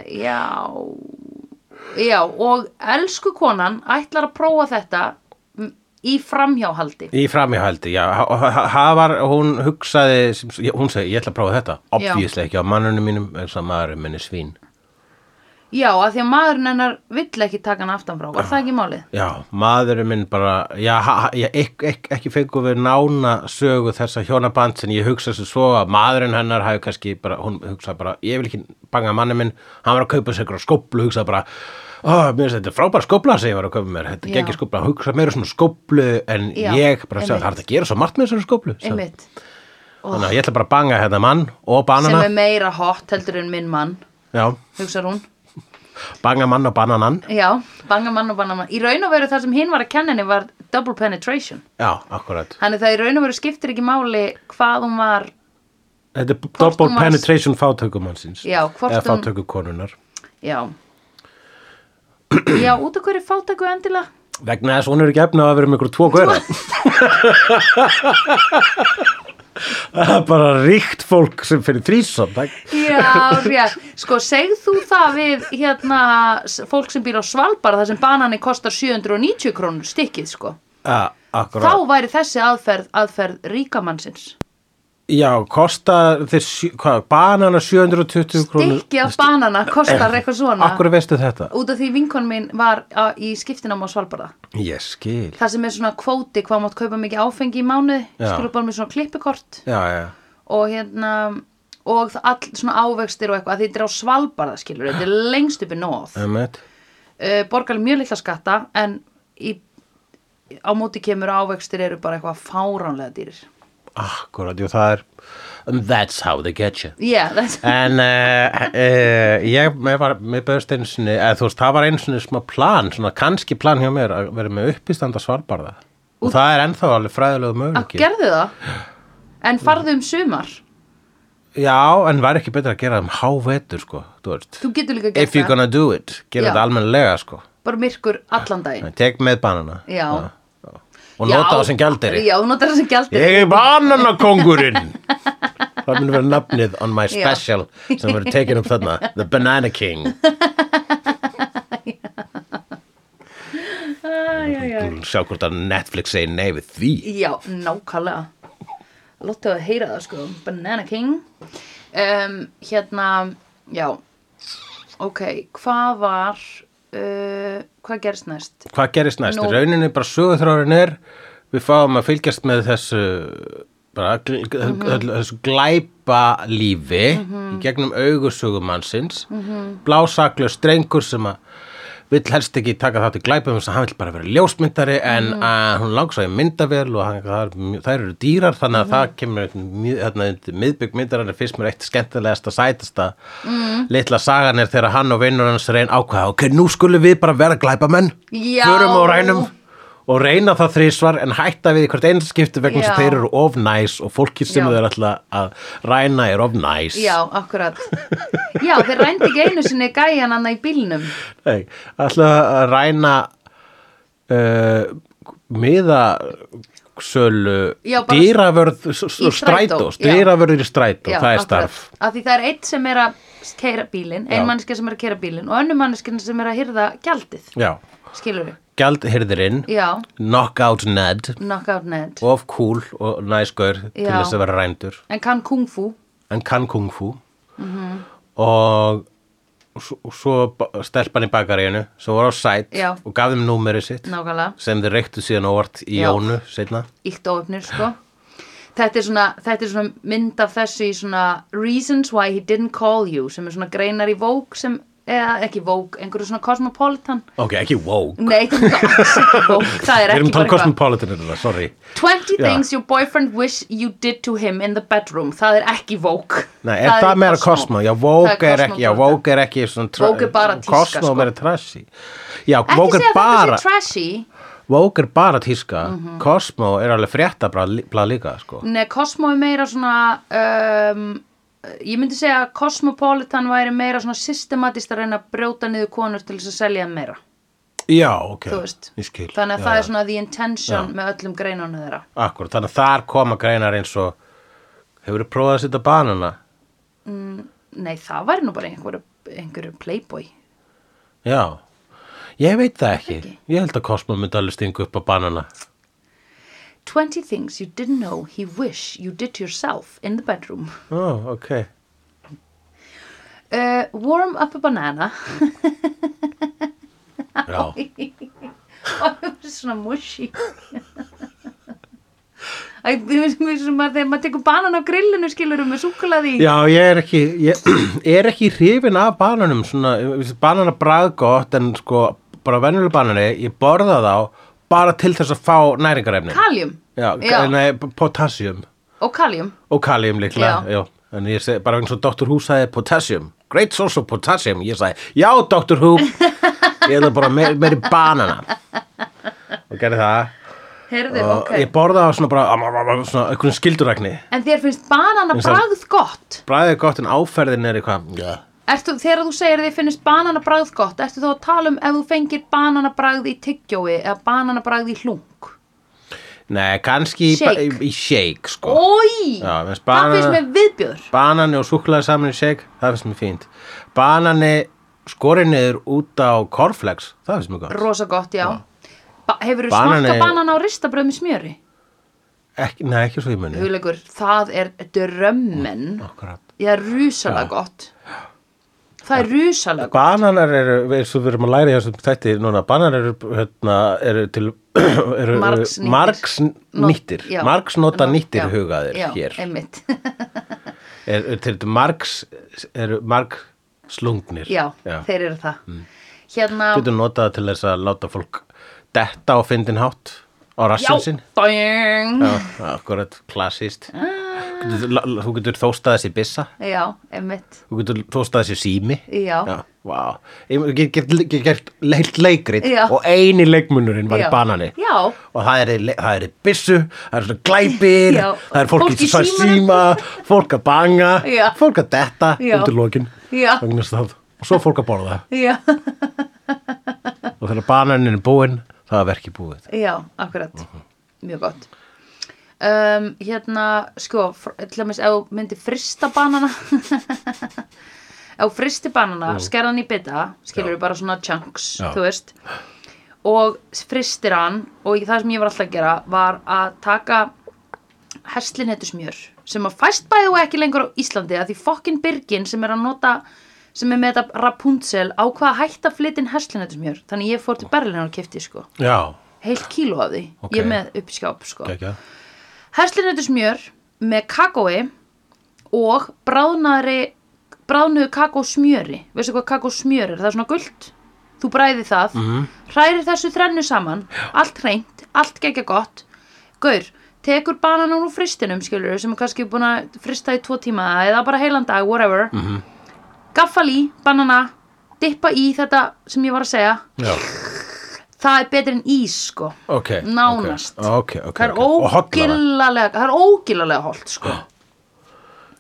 já já og elsku konan ætlar að prófa þetta mm, í framhjáhaldi
Í framhjáhaldi, já, ha- ha- ha- var, hún hugsaði, sem, s- ég- hún segi, ég ætla að prófa þetta,
Já.
obvíslega ekki á mannunum mínum, eins og maðurinn minni svín.
já að því að maðurinn hennar vill ekki taka hann aftanfrá var það ekki málið
Já, maðurinn minn bara, já, ha, ha- já ek, ek, ekki fengu við nána sögu þessa hjónaband sem ég hugsa sem svo að maðurinn hennar hafi kannski bara, hún hugsaði bara, ég vil ekki banga manni minn, hann var að kaupa sér einhverja skóplu, hugsaði bara, ó, mér finnst þetta frábær skópla sem ég var að kaupa mér, þetta
Já.
er ekki skópla, hann hugsaði meira svona skóplu en
Já,
ég bara sagði, það
einmitt.
er hægt að gera svo margt með þessari skóplu, sagði-
einmitt
þannig að ég ætla bara að banga hérna mann og
sem
banana,
er meira hot heldur en minn mann
já,
hugsar hún
banga mann og bananan,
já banga mann og banna mann í raun og veru það sem hinn var að kenna henni var double penetration
já, akkurat.
þannig það í raun og veru skiptir ekki máli hvað hún var
Þetta er double
hún var-
penetration fátökumannsins,
Já, hvort
eða
hún-
fátökukonunar.
Já Já, út af hverju fátæku endilega
vegna þess að hún er ekki efna að vera með ykkur tvo góra það er bara ríkt fólk sem fyrir þrísom það
Já, rétt Sko, segð þú það við hérna s- fólk sem býr á Svalbara þar sem banani kostar 790 krónur stikkið, sko
Ja, akkurat.
Þá væri þessi aðferð, aðferð ríkamannsins
Já, kosta þeir sjö- hvað, banana 720 krónur.
Stikki af banana kostar eitthvað svona
Akkur veistu þetta?
Út af því vinkon minn var á, í skiptinám á Svalbara
Ég skil.
Það sem er svona kvóti hvað mátt kaupa mikið áfengi í mánuði
Já.
Skilur bara með svona klippikort
Já, já.
og hérna og það all svona ávextir og eitthvað af því þetta er á Svalbarða skilur, þetta er lengst upp í nóð uh,
Emmett.
borgar mjög litla skatta en í, á móti kemur að ávextir eru bara eitthvað fáránlega dýrir
Akkurat, jú, það er um, That's how they get you.
yeah, that's-
En uh, uh, ég, mér var, mér bauðst einu sinni, eða þú veist, það var einu sinni smá plan, svona kannski plan hjá mér að vera með uppistanda svarbarða. Og það er ennþá alveg fræðilegu
að
möguleiki.
gerðu það en farðu um sumar
Já, en væri ekki betra að gera það um hávetur, sko, þú veist.
þú getur líka
If
gert
you're
það
gonna do it, gera
Já.
þetta almennilega, sko.
bara myrkur allan daginn
Tek með banana.
Já.
Og nota það sem gælderi.
já, þú notar það sem gælderi
Ég er bananakongurinn. það mun vera nafnið on my
Já.
special sem verður tekin upp þarna. The Banana King. Æ, sjá hvort að Netflix segi nei við því
Já, nákvæmlega Lóttu að heyra það sko Banana King um, Hérna, já Ok, hvað var uh, Hvað gerst næst?
hvað gerist næst,
Nú.
rauninni bara sögurþrárin er við fáum að fylgjast með þessu bara gl öllu þessu glæpa lífi í gegnum augusögumannsins mm -hmm. blásaklaus strengur sem að vill helst ekki taka þátt í glæpum þess að hann vill bara vera ljósmyndari en að hún langs að myndavél og hann, það, er mjög- þær eru dýrar þannig að það kemur mjög- þarna undir miðbygg myndarinn er fyrst mér eitt skemmtilegasta sætasta litla sagan er þegar hann og vinnur hans reyn ákvaða ok, nú skulum við bara vera glæpamenn
Já.
förum og rænum og reyna það þrísvar en hætta við í hvert einn skipti vegna þess að
Já.
þeir eru of næs og fólki sem
Já.
þeir ætla að ræna er of næs
Já, akkurat Já, þeir rændi ekki einu sinni gæjan hann í bílnum
Nei, ætla að ræna uh, miða sölu
Já, bara-
dýravörð s-
Í
s-
strætó,
strætós,
já.
dýravörður í strætó
Já,
það er
akkurat.
starf
Af því það er eitt sem er að keira bílinn,
Já.
ein mannskja sem er að keira bílinn og önnum mannskja sem er að hyrða gjaldið
já,
skilur við,
gjaldhyrðirinn
já,
knockout Ned
knockout net
of cool og næskur til
Já.
þess að vera rændur
en kann kung fu
en kann kung fu og s- og svo ba- stelpan í bakaríinu sem voru á sæt
Já.
og gaf þeim númerið sitt
nákvæmlega,
sem þeir reyktu síðan óvart í
Já.
Jónu seinna
íkt óöfnir sko þetta er, svona, þetta er svona mynd af þessu í svona reasons why he didn't call you sem er svona greinar í Vogue sem, eða ekki Vogue, einhverju svona Cosmopolitan
ok, ekki woke
Nei, það er ekki Vogue, það er
Við erum talað
ekki bara eitthvað
Cosmopolitan er það, sorry
20
Já.
things your boyfriend wish you did to him in the bedroom það er ekki Vogue
Nei, er það,
í
meira Cosmo? Já, Vogue
Það
er ekki, já,
Cosmopolitan.
Vogue er ekki svona tra-
Vogue er bara tíska,
Cosmo
sko.
meira trashy Já,
Ekki
Vogue
segja
er
að þetta
bara
sé Mhm. trashy
Vogue er bara tíska Cosmo er alveg frétta bara líka, sko
Nei, Cosmo er meira svona um, ég myndi segja að Cosmopolitan væri meira svona systematist að reyna að brjóta niður konur til þess að selja þeim meira
Já, ok,
þú veist
ég skil
þannig að
já,
það
já.
er svona the intention með öllum greinunum þeirra
Akkur, þannig að þar koma greinar eins og hefur þú prófað að setja banana?
Nei, það væri nú bara einhverju, einhverju playboy
Já, ég veit það ekki.
Ekki.
Ég held að Cosmo myndi alveg stingu upp á banana.
20 things you didn't know he wish you did yourself in the bedroom
Ó, ok.
uh, warm up a banana
Já,
og það er svona mushy Æ, þú veist, mér er svona maður- þegar maður tekur banan á grillinu skilurum með súkulaði í.
Já ég er ekki, ég er ekki hrifin af bananum, svona, banana brað gott en sko, bara venjuleg banani, ég borða þá bara til þess að fá næringarefni.
kaljum
Já,
Já.
nei, potassium
og kaljum
og kalium líklega, já. En ég segi bara eins og Dr. Who sagði potassium, great source of potassium, ég sagði, já Dr. Who, ég ætla bara meir, meiri banana. Og gerði það.
Herðu,
og
ok
ég borða það svona bara, am, am, am, svona einhvern skildurækni.
en þér finnst banana
Finnst það-
bragð gott
Bræðið er gott en áferðin er eitthvað, já.
ertu, þegar þú segir þér finnst banana bragð gott ertu þá að tala um ef þú fengir banana bragð í tyggjói eða banana bragð í hlung
Nei, kannski í,
Shake.
ba- í shake, sko.
Ói,
Já, mér finnst
það finnst
banana-
mér viðbjör
Banani og súklaði saman í shake, það finnst mér fínt. Banani skorið niður út á cornflakes, það finnst mér gott.
rosa gott, já, Ba hefur þú
Banani-
smakka banana á ristabröð með smjöri
Ekki, nei, ekki svo ég muni.
hugleikur, það er drömmen
Akkurat.
Það er rúsalega gott. Það er rúsalega gott.
Bananar eru, eins og við erum að læra í þessum þætti núna, bananar eru, hérna, eru til eru,
Margsnýttir.
margsnýttir
Nót- já.
margsnota
Nó-
nýttir
já.
hugaðir
já,
hér
Einmitt.
er, er, til þetta margs eru margslungnir
Já, þeir eru það. Hérna,
Mm. getur notað til þess að láta fólk detta á fyndin hátt á
já,
rassin sinn
dæng.
Já, akkurat, klassist
Ah.
getur, la- la- þú getur þóstað þessi byssa
Já, einmitt.
þú getur þóstað þessi sími
Já.
Já, vá. Ég get gert- get gert heilt leikrit
Já.
og eini leikmunurinn var
Já.
í banani
Já.
og það er, það er byssu, það er svona glæpir
Já.
það er fólk,
Fólk í
í svona
símanum.
síma fólk að banga,
Já.
fólk að detta
Já.
undir lokin
Já.
vegna þess að- og svo fólk að borða
Já,
og þegar bananin er búinn það er verkið búið
já, akkurat. Mjög gott. Um, hérna, sko, fr- til dæmis ef þú myndir frista banana ef þú fristi banana, skerðan í bita skilur við bara svona chunks,
Já.
þú veist og fristir hann og það sem ég var alltaf að gera var að taka herslinhetu smjör sem að fæst bæði og ekki lengur á Íslandi að því fokkin Birgin sem er að nota sem er með þetta Rapunzel á hvað að hætta flytin herslinhetu smjör þannig ég fór til Berlin og kefti sko
já,
heilt kíló af því,
Ok.
ég er með upp í skáp sko.
ekki
Herslinötu smjör með kakói og bráðnaðri bráðnuðu kakósmjöri veistu hvað kakósmjör er, það er svona gult þú bræði það, mm. hræri þessu þrennu saman, allt hreint allt gekkja gott, gaur tekur banan úr fristinum, skilur sem er kannski búin að frista í tvo tíma eða bara heilan dag, whatever mm -hmm. gaffal í, banana dippa í þetta sem ég var að segja
já,
það er betur en ís, sko
ok
Nánast.
ok, ok,
það er
ok, og hollara
ógilalega það er ógilalega holdt sko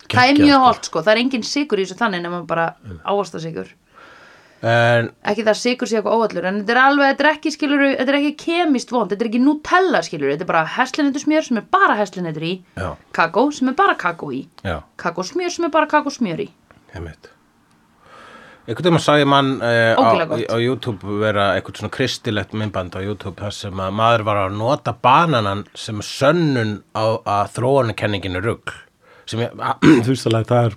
það er
Geggjað,
mjög
sko.
holdt sko, það er engin sigur í þessu þannig nema bara ávasta sigur
en,
ekki það að sigur sé eitthvað óallur en þetta er alveg, þetta er ekki skiluru þetta er ekki kemist vond, þetta er ekki Nutella skiluru þetta er bara heslinetur smjör sem er bara heslinetur í
já,
kakó sem er bara kakó í
já
kakósmjör sem er bara kakósmjör í
Einmitt. Einhvern veginn sá ég mann uh, á,
Ógeðlega gott.
á YouTube vera eitthvað svona kristilegt myndband á YouTube þar sem að maður var að nota bananan sem sönnun á að þróanukenninginu rugg sem ég, þú veist alveg það er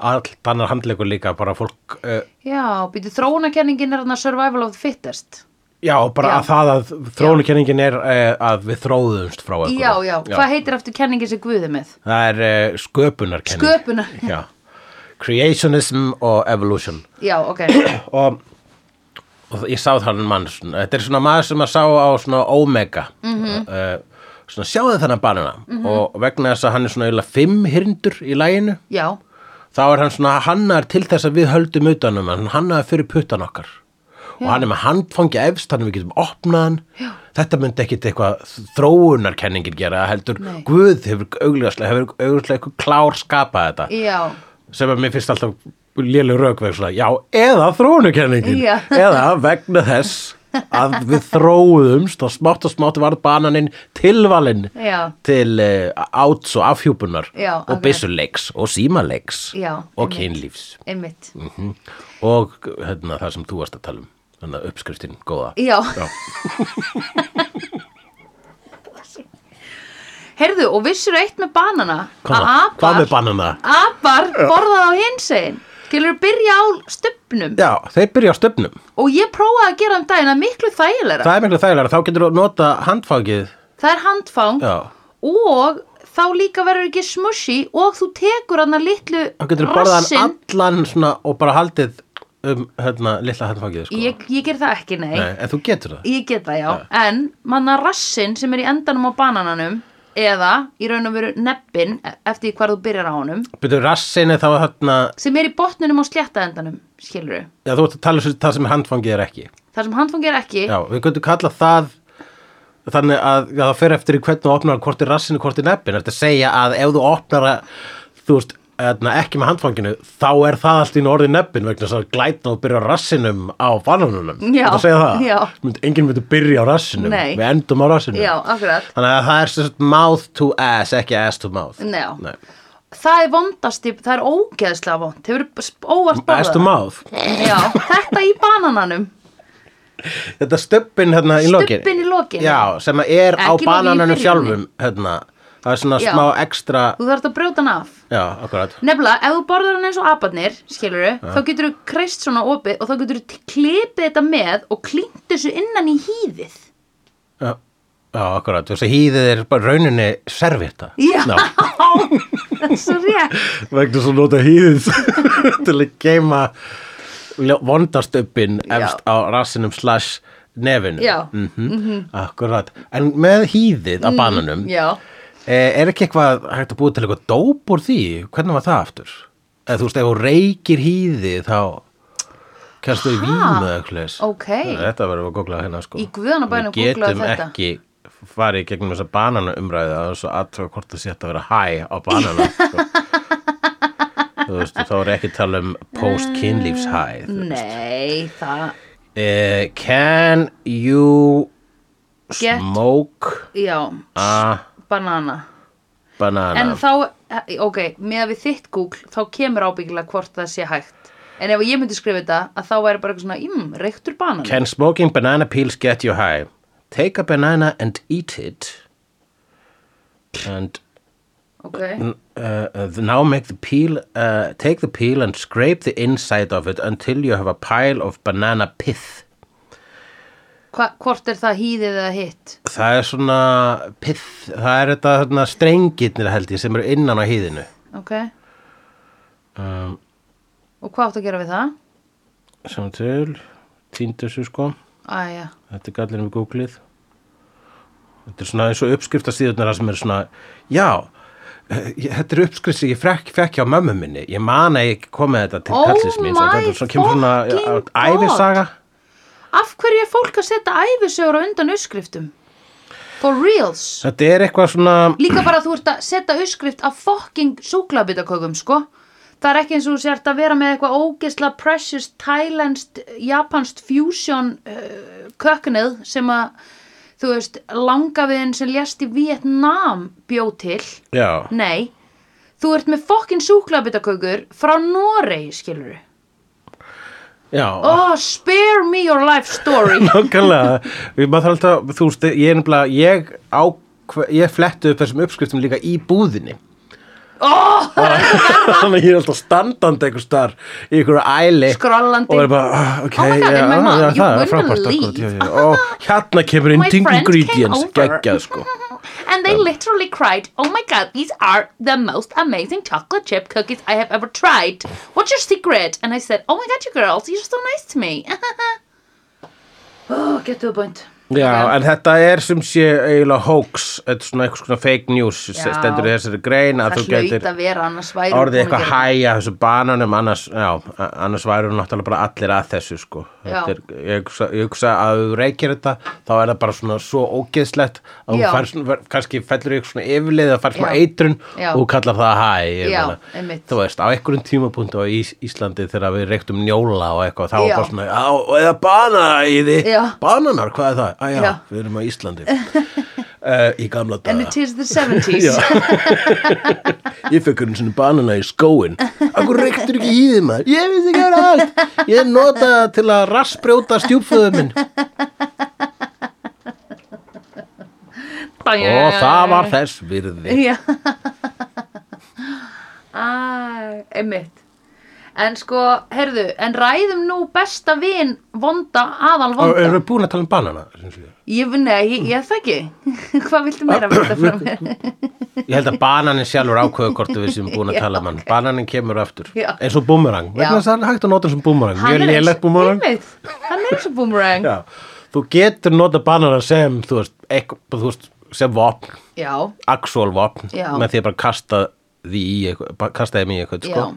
allt annar handleikur líka bara fólk, uh,
já, býtu þróunakenningin er þarna survival of the fittest
já bara
Já.
að það að þróanukenningin er uh, að við þróðumst frá einhverju
já, já, hvað heitir aftur kenningin sem guðið með
það er uh, sköpunarkenning
Sköpunar.
já. creationism og evolution
já, ok,
og, og ég sá þann mann svona, þetta er svona maður sem að sá á svona Omega mm svona sjáðu þennan banana og vegna þess að hann er svona eiginlega fimm hyrndur í læginu
já
þá er hann svona hannar til þess að við höldum utanum hann hannar fyrir puttan okkar og hann er með handfangi efst þannig við getum opnað hann Já. þetta myndi ekkit eitthvað þróunarkenningir gera heldur
Nei.
Guð hefur augljáslega hefur augljáslega eitthvað klár skapað þetta
já,
sem að mér finnst alltaf léleg rökveg svona, já, eða þróunukenningin
Já.
eða vegna þess að við þróumst og smátt og smátt varð bananinn tilvalinn
Já.
til uh, áts og afhjúpunar
Já,
og
akkurat.
byssuleiks og símaleiks
Já,
og
einmitt.
kynlífs Hm.
einmitt
og hérna, það sem þú varst að tala um þannig að uppskriftin góða
Já. Heyrðu, og vissur eitt með banana
Hvað,
að
það? hvað með
apar,
banana?
apar borða á hinsegin skilur byrja á stubnum
Já, þeir byrja á stöfnum
og ég prófaði að gera um daginn að miklu þægilega það,
Það er miklu þægilega, þá getur þú nota handfangið
er handfang
Já,
og þá líka verður ekki smushy og þú tekur hann að litlu
þá getur þú borðað hann
rassinn.
allan svona og bara haldið um hérna, litla handfangið sko.
ég, ég ger það ekki, nei,
Nei, en þú getur það
ég get það já en manna rassin sem er í endanum á banananum eða í raun og veru nebbin e- eftir því hvar þú byrjar á honum
Byrju rassinni þá hérna
sem er í botnunum á slétta endanum skilur þau,
Já, þú ert að tala um það sem handfangið er ekki
þar sem handfangi er ekki
Já, við getum kallað það Þannig að já, það fer eftir í hvernig þú opnar hvort er rassinu, hvort er nebbin Þetta segja að ef þú opnar að, þú veist, hérna, ekki með handfanginu þá er það allt í einu orðið nebbin vegna þess að glætna og byrja á rassinum á bananunum
Já,
Þetta segja það
já.
Mynd, Enginn myndi byrja á rassinum
Nei.
Við endum á rassinum
Já, akkurat.
Þannig að það er sem sagt mouth to ass, ekki ass to mouth
Já.
Nei.
það er vondast, í- það er ógeðslega vond hefur óvart
Ass to
borðað
mouth
Já, þetta í banananum
Þetta stubbin hérna í lokin
Stubbinn í lokin.
Já, sem að er á
Ekki lokin í
bananunum
byrjuninni.
sjálfum hérna. Það er svona
Já.
smá ekstra
þú þarft að brjóta hann af
Já, akkurat
Nefnilega, ef þú borðar hann eins og aparnir, skilur þá getur þú kreist svona opið og þá getur þú klipið þetta með og klínt þessu innan í hýðið.
Já, já akkurat, þess að hýðið er bara rauninni servita
Já,
Ná,
það er svo rétt.
Vegna svo nota hýðið til að geima vondastubbin
Já.
efst á rassinum slash nefinu
Já. Mhm. Mm,
mm Akkurat, en með hýðið á bananum
Já,
Eh, Er ekki eitthvað hægt að búa til eitthvað dóp úr því? Hvernig var það aftur? Eða þú veist, ef þú reykir hýði þá kennst þú í vímu eða eitthvað leis.
ok.
Þetta verður að googla hérna sko.
Í guðanna bænum
Við
googlaðu
getum
þetta.
ekki farið í gegnum þessa bananaumræði að þessu aðtöga hvort það sé hægt að vera hæ á banana. Sko. þú veist, þá er ekki að tala um post-kynlífs hæ.
Nei, það,
Eh, can you
Get-
smoke
já,
a
banana.
banana?
eh, En þá, ok, með að við þitt Google, þá kemur ábyggilega hvort það sé hægt. en ef ég myndi skrifa þetta að þá væri bara eitthvað svona, mm, reyktur banan
Can smoking banana peels get you high? Take a banana and eat it and
ok,
uh, uh, now make the peel, uh, take the peel and scrape the inside of it until you have a pile of banana pith.
Hva, hvort er það hýðið eða hitt
Það er svona pith, það er þetta þarna, strengirnir held ég sem eru innan á hýðinu. Um,
ok og hvað áttu að gera við það?
Sem til, týndu þessu sko,
aðja,
þetta er gallin við googlið. Þetta er svona eins og uppskriftastíðunar sem er svona, já, eh, ég- þetta er uppskrift sem ég fekk, fekk hjá mömmu minni. Ég man að ég kom með þetta til
Oh
kallins mín.
my
Þetta er svona, kemur svona
fucking
á- ævisaga.
af hverju er fólk að setja æfisögur á undan uppskriftum? for reals
Þetta er eitthvað svona,
líka bara að þú ert að setja uppskrift af fucking súklabitakökum sko það er ekki eins og þú sért að vera með eitthvað ógisla precious thailandst japanst fusion uh, köknið sem að þú veist langaviðin sem lést í Vietnam bjó til
já,
nei, þú ert með fucking súklabitakökur frá Noregi skilur
já.
oh spare me your life story
Nákvæmlega, við maður þarf alltaf, þú veist, ég er nefnilega, ég á, ég fletti upp þessum uppskriftum líka í búðinni.
oh,
Þannig að ég er alltaf standandi einhver starf í einhverju æli.
Skrollandi.
Og er bara, ah, ok,
Oh my God,
já,
in my
já,
mouth,
já,
you
það er
wouldn't
frábært
believe.
akkurat, já, já, já. Og hérna kemur inn
My
ding
friend came
ingredients,
over.
geggjað, sko.
And they literally cried, Oh my god, these are the most amazing chocolate chip cookies I have ever tried. What's your secret? And I said, Oh my god, you girls, you're so nice to me. oh, get to the point.
Já,
Ok.
en þetta er sem sé eiginlega hoax, þetta er svona eitthvað svona fake news,
Já.
stendur í þessari grein að
Það
þú
hlaut
getur
að vera annars væri hún
orðið
búin að
eitthvað
gera
hæja þessu bananum annars, já, a- annars væru náttúrulega bara allir að þessu sko Þetta
Já.
er, ég, hugsa, ég hugsa að ef þú reykir þetta þá er það bara svona svo ógeðslegt að þú
Já.
fær, svona- kannski fellur ykkur svona yfirlið að fær svona
Já.
eitrun
Já.
og þú kallar það hæ ég
Já,
meina.
einmitt.
þú veist, á einhverjum tímapunkt á Ís Íslandi þegar við reyktum njóla og eitthvað þá var
Já.
bara svona, á, og eða banana í því
Já.
bananar, hvað er það? Æ, já,
Já.
við erum á Íslandi uh, í gamla
And
daga
it is the 70s.
Já. Ég fekk hún svona banana í skóin Akkur reyktur ekki í þið maður Ég veist ekki að allt Ég nota það til að rassbrjóta stjúpföðu minn Og það var þess virði
Já Æ, einmitt En sko, heyrðu, en ræðum nú besta vin vonda, aðal
Og
vonda
erum við búin að tala um banana? sem sé?
Ég vinn að, ég, ég það ekki Hvað viltu meira vita frá mér?
Ég held að bananin sjálfur ákveðu hvort við sem búin að tala um hann Bananin kemur aftur
Já.
Eins og boomerang Vegna
Já.
þess að það er hægt að nota hann sem boomerang
Hann
Mjög
er eins-
lélegt boomerang
Einmitt, hann er eins og boomerang Já,
Já. Þú getur nota banana sem Þú veist, ekk, þú veist sem vopn
já,
actual vopn
Já.
með því að bara kasta því í eitthvað, bara kasta þeim í eitthvað sko.
já.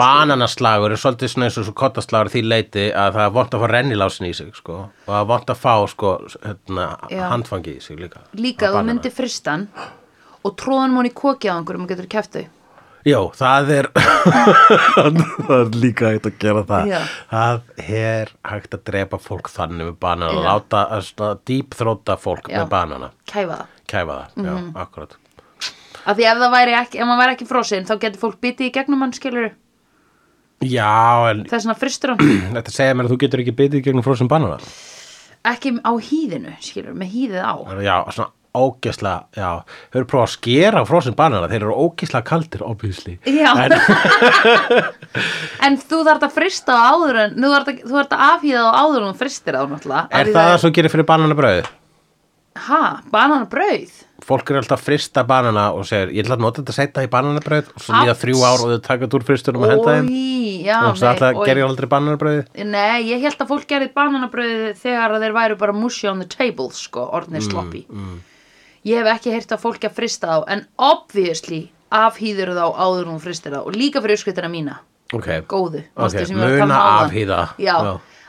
bananaslagur er svolítið svona eins og svo kottaslagur því leiti að það er vont að fá rennilásin í sig sko. og það er vont að fá sko, hérna,
Já.
handfangi í sig líka Á
Líka þú
banana.
myndir fristan og tróðan hún í kokið á einhverjum og getur kæft þau
Jó, það er það er líka hægt að gera það
Já.
það er hægt að drepa fólk þannig með banana
Já.
láta að svona dýpþróta fólk
Já. Mhm.
með banana
Kæfa það
kæfa það, já, akkurat
Af því ef það væri ekki, ef maður væri ekki frosinn þá getur fólk bitið í gegnum hann skilur
Já, en
Það er svona fristur hann
þetta segja mér að þú getur ekki bitið í gegnum frósin banana
ekki á hýðinu, skilur, með hýðið á
Já, svona ógeðslega, já, þau eru prófað að skera frosin banana, þeir eru ógeðslega kaldir, obviously.
Já.
En,
en þú þarft að frista á áður en þú þarft að, þú þarft að afhýða á áður en þú fristir á náttúrulega af
er
því
það það svo gerir fyrir bananabröðið?
ha, bananabrauð
Fólk eru alltaf að frista banana og segir, ég ætla að nota þetta að setja í bananabröð og svo líða
Allt.
þrjú ár og þau taka þetta úr fristunum og henda þeim.
Ói, já,
Og svo alltaf
oj.
gerir aldrei bananabröðið.
Nei, ég held að fólk gerði bananabrauð þegar að þeir væru bara mushi on the table sko, orðnir
Mm,
sloppy ég hef ekki heyrt að fólk að frista þá en obviously afhýður þá áður en þú fristir þá og líka fyrir uppskrittana mína
Ok,
góðu manstu, sem ég var að
muna
tala um áðan?
afhýða.
já,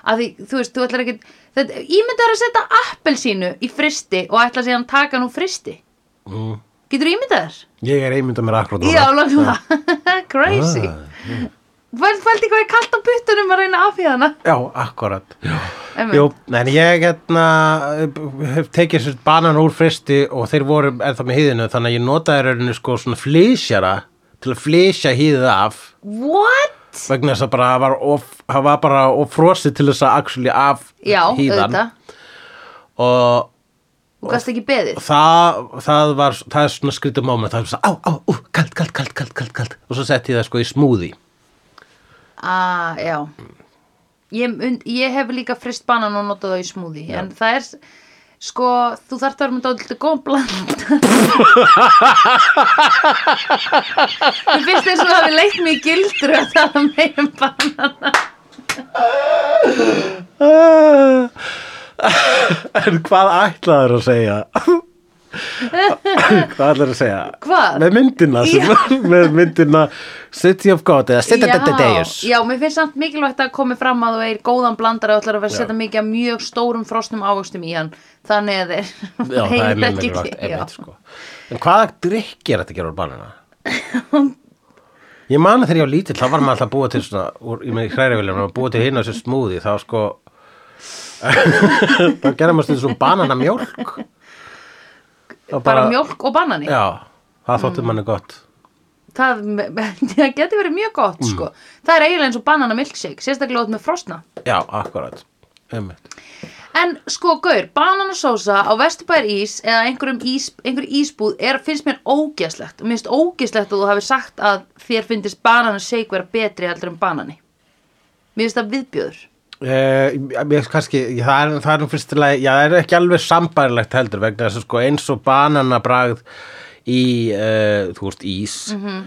að því, þú veist, þú ætlar ekki þetta, ímyndar að setja appelsínu í fristi og ætla að segja hann taka nú fristi
Mm.
getur ímyndar?
Ég er einmynda mér akkurat
já, langt um það crazy
Ah,
Fælt, fælt hvað er kalt á puttunum að reyna af hérna
Já, akkurat. Já.
Einmitt.
Jú, en ég hérna, hef tekið sér banan úr fristi og þeir voru ennþá með hýðinu þannig að ég notaði rauninu sko svona flysjara til að flysja hýðið af
What? Einmitt.
vegna þess að bara það var of, það var bara of frosið til þess að actually af
Já,
hýðan
auðvitað.
og
Þú gast ekki beðið.
það, það var það er svona skrítið moment það er svona á, á, ú, kalt, kalt, kalt, kalt, kalt, kalt og svo setti ég það sko í smúði
Ah, já. Ég, mun- ég hef líka frist banan og notað það í smúði. En það er, sko, þú þarft að vera með dálítið góðan blanda. Mér finnst þess að það hafi leitt mig í gildru að tala meira um banan.
Ah. en hvað ætlaður að segja hvað ætlaður að segja
Hvað?
með myndina sem, með myndina City of God eða City of the Deus
Já, já, mér finnst samt mikilvægt að komi fram að þú er góðan blandar og ætlar að vera að
Já.
setja mikið af mjög stórum frosnum ávöxtum í hann þannig að þeir
Já, það er
heyri
mjög
ekki
mikilvægt,
til- já.
einmitt sko. En hvaða drikki er þetta að gera úr banana? Ég man að þegar ég var lítill, þá var maður alltaf að búa til svona, úr, ég með hræriviljum, maður búa til hinn á þessu smúði, þá sko, þá gerði maður stundum svona bananamjólk.
bara, mjólk og banani
Já, það þótti manni gott.
það, það getur verið mjög gott
Mm.
sko. það er eiginlega eins og banana milkshake sérstaklega út með frosna
Já, akkurat. Einmitt.
en sko gaur, bananasósa á vesturbæjar ís eða einhverjum ís, einhver ísbúð er, finnst mér ógeðslegt og mér finnst ógeðslegt að þú hafi sagt að þér finnist bananasake vera betri heldur en banani mér finnst það viðbjöður
Eh, ég, kannski, ég- það er, það er nú fyrstilega, já, það er ekki alveg sambærilegt heldur vegna þess að sko eins og bananabragð í, uh, þú veist, ís
Mhm.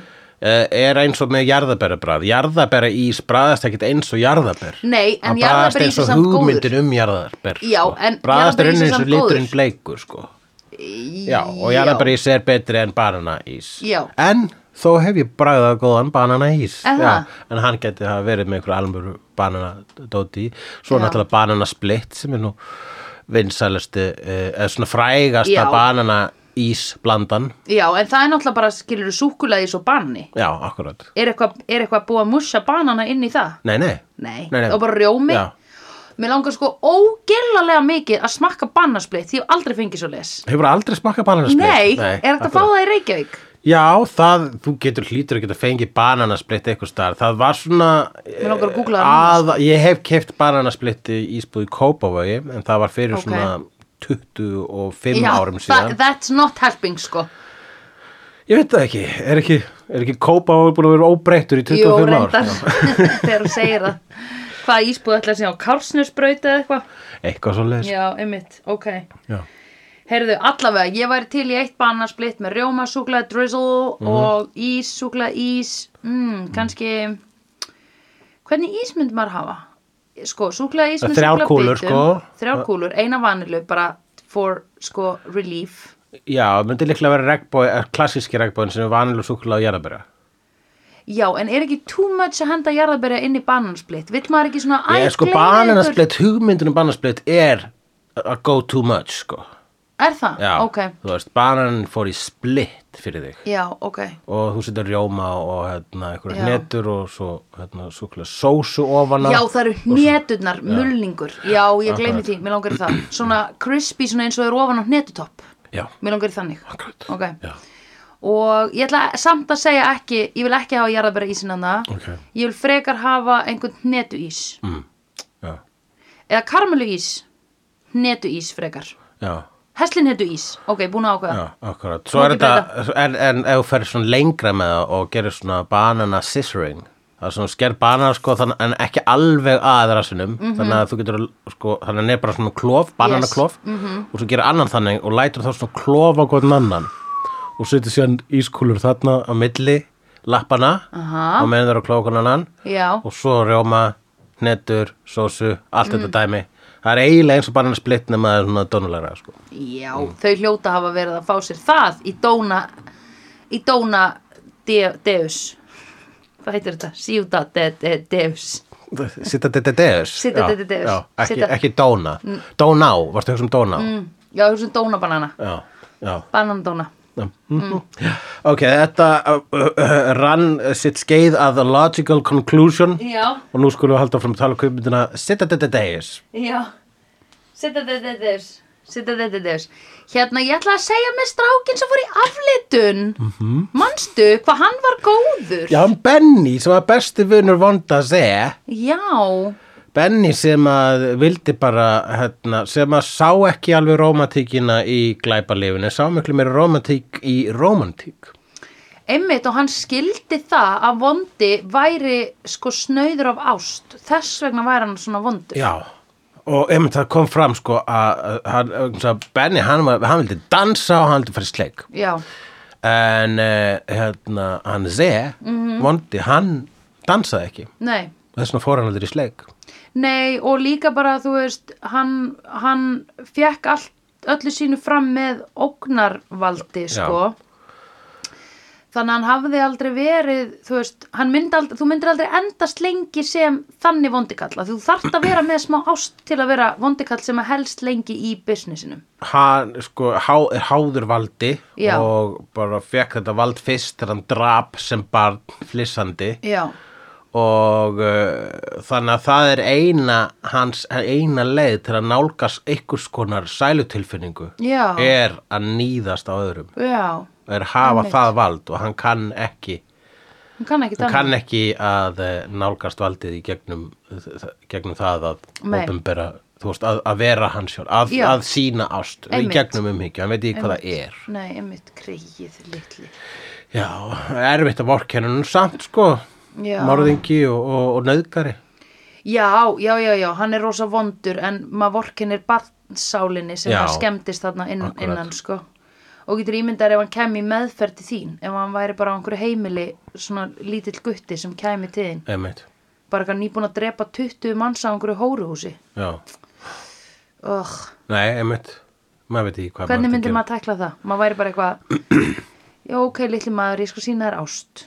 eh, er eins og með jarðaberabragð. Jarðabera ís bragðast ekkit eins og jarðaber.
Nei, en
Hann bragðast
jarðaber ís
eins
er
og
samt góður.
hugmyndin um jarðaber.
Já,
sko.
en
bragðast er unni
jarðaber ís er
eins og
samt góður.
liturinn bleikur, sko. Já, og jarðaberís er betri en bananaís.
Já.
En þó hef ég bragðað góðan bananaís.
Er
Já,
það?
en hann geti hafa verið með einhverju alvöru bananadóti í. Svo
Já.
náttúrulega bananasplitt sem er nú vinsælusti, eh, eða svona frægasta
Já.
bananaísblandan.
Já, en það er náttúrulega bara skilur súkulaðis og banni.
Já, akkurat.
Er eitthvað er eitthvað búið að musja banana inn í það?
Nei, nei.
Nei,
Nei, nei.
og bara rjómi.
Já.
Mér langar sko ógellalega mikið að smakka bananasplitt því ég hef aldrei fengið svo les.
Hefur aldrei smakkað bananasplitt?
Nei, er þetta að fá
akkurat.
það í Reykjavík?
Já, það, þú getur hlýtur að geta fengið bananasplitt eitthvað starf. Það var svona eh,
Mig langar að googla það sko.
að, ég hef keft bananasplitti í ísbúð í Kópavogi en það var fyrir
Ok.
svona 25 árum
það,
síðan.
that's not helping sko.
Ég veit það ekki, er ekki, er ekki Kópavogi búin að vera óbreyttur í 25
Jú,
ár?
reyndar, þegar þú segir það. Hvað ísbúið ætla að segja á Kársnusbrauti eða eitthvað?
Eitthvað svo leis.
Já, einmitt, ok.
Já.
Heyrðu, allavega, ég væri til í eitt bananasplitt með rjóma, súklaði, drizzle
Mhm.
og ís, súklaði, ís, mm, kannski, hvernig ís myndi maður hafa? Sko, súklaði ís með
Þrjár
súklaði
kúlur, sko.
Þrjár kúlur, eina vanilu, bara for, sko, relief.
Já, myndi líklega vera regnbói, klassíski regnbóin sem er vanilu súkulega á jarðabera.
Já, en er ekki too much að henda jarðaberja inn í bananasplitt? Vill maður ekki svona,
Ég, sko,
gleymið ykkur-
bananasplitt, hugmyndin um bananasplitt er að go too much, sko.
Er það?
Já,
Ok,
þú veist, bananin fór í splitt fyrir þig
já, ok.
og þú setur rjóma og hérna, einhverja
Já.
hnetur og svo hérna, súkulega sósu ofana
Já, það eru hneturnar, mulningur. Já, ég gleymi því, mér langar í það. Svona crispy, svona eins og er ofan á hnetutopp.
Já,
Mér langar í þannig.
akkurat
Ok.
Já.
Og ég ætla samt að segja ekki, ég vil ekki hafa jarðabæra ísinn hana.
Ok.
Ég vil frekar hafa einhvern hnetu ís.
Mm. Já.
Eða karmelu ís. Hnetu ís frekar.
Já.
Heslin hnetu ís. Ok, búin að ákveða.
Já, akkurat Svo er
Nú ekki
þetta, en, en ef þú ferð svona lengra með það og gerir svona banana scissoring það er svona sker banana sko þann, en ekki alveg að rassinum þannig að þú getur sko, þannig að hann er bara svona klof, banana klof og svo gerir annan þannig og lætur þá svona klofa hvern annan og setur síðan ískúlur þarna á milli lappana
Aha.
og meðan það eru klofa hvern annan
Já.
og svo rjóma, hnetur, sósu allt þetta dæmi það er eiginlega eins og banana splitt nema það er svona donulegra sko.
Já, þau hljóta hafa verið að fá sér það í dóna, í dóna de, deus. Hvað heitir þetta? Síuda de, de, deus.
Sitta þetta deus
Sitta
Já,
Dede Deus.
já, ekki,
Sitta-
ekki dóna Dóná, varstu að hugsa um dóná
Mm, já, þú sem dóna banana.
Já, já
Banandóna.
Mm. Ok, þetta uh, uh, rann uh, sitt skeið að the logical conclusion
Já,
og nú skulum við halda fram að tala um kvikmyndina Sitta þetta deus
já. Sitta de, de, deus. Sitta þetta þess. Hérna, ég ætla að segja með strákinn sem fór í aflitun. Mm -hmm. Manstu hvað hann var góður?
Já, hann Benny sem var besti vinur vonda að segja
Já.
Benny sem að vildi bara hérna, sem að sá ekki alveg romantíkina í glæpalifinu, sá miklu meira romantík í romantík
Einmitt og hann skildi það að vondi væri sko snauður af ást. Þess vegna væri hann svona vondur.
Já, og einmitt það kom fram sko að, að, hann- um, að Benny hann, var, hann vildi dansa og hann vildi fara í sleik
Já.
en uh, hérna hann Zé,
Mhm.
vondi, hann dansaði ekki,
Nei.
þess vegna fór hann aldrei í sleik
Nei og líka bara þú veist hann, hann fekk allt, öllu sínu fram með ógnarvaldi
Já.
sko. Þannig að hann hafði aldrei verið, þú veist, hann myndi aldrei, þú myndir aldrei endast lengi sem þannig vondikalla. Þú þarft að vera með smá ást til að vera vondikall sem að helst lengi í businessinum.
hann sko há, er háður valdi
Já.
og bara fekk þetta vald fyrst þegar hann drap sem barn flissandi
Já,
og uh, þannig að það er eina hans eina leið til að nálgast einhvers konar sælutilfinningu
Já.
er að nýðast á öðrum
já,
er hafa
Einmitt.
það vald og hann kann ekki
hann kann ekki
hann kann ekki að eh, nálgast valdið í gegnum, eh, gegnum það að
Nei.
opinbera, þú veist, að, að vera hans sjálf að,
Já.
að sína ást í
Einmitt.
gegnum umhyggju, hann veit ekki hvað það er
Nei, einmitt greið litli.
Já, erfitt að vorkennunum samt sko,
Já.
morðingi og, og, og nöðgari.
Já, já, já, já, hann er rosa vondur en maður vorkinir barnsálinni sem
Já.
það skemmtist þarna inn,
Akkurat.
innan sko. og getur ímyndar ef hann kæmi í meðferð til þín, ef hann væri bara á einhverju heimili svona lítill gutti sem kæmi til þín
Einmitt,
bara eitthvað nýbúin að drepa 20 manns á einhverju hóruhúsi
já.
Ugh,
Nei, einmitt, maður veit ekki hvað
hvernig
myndi
myndir maður tækla það? Maður væri bara eitthvað Já, ok, litli maður, ég sko sína þér ást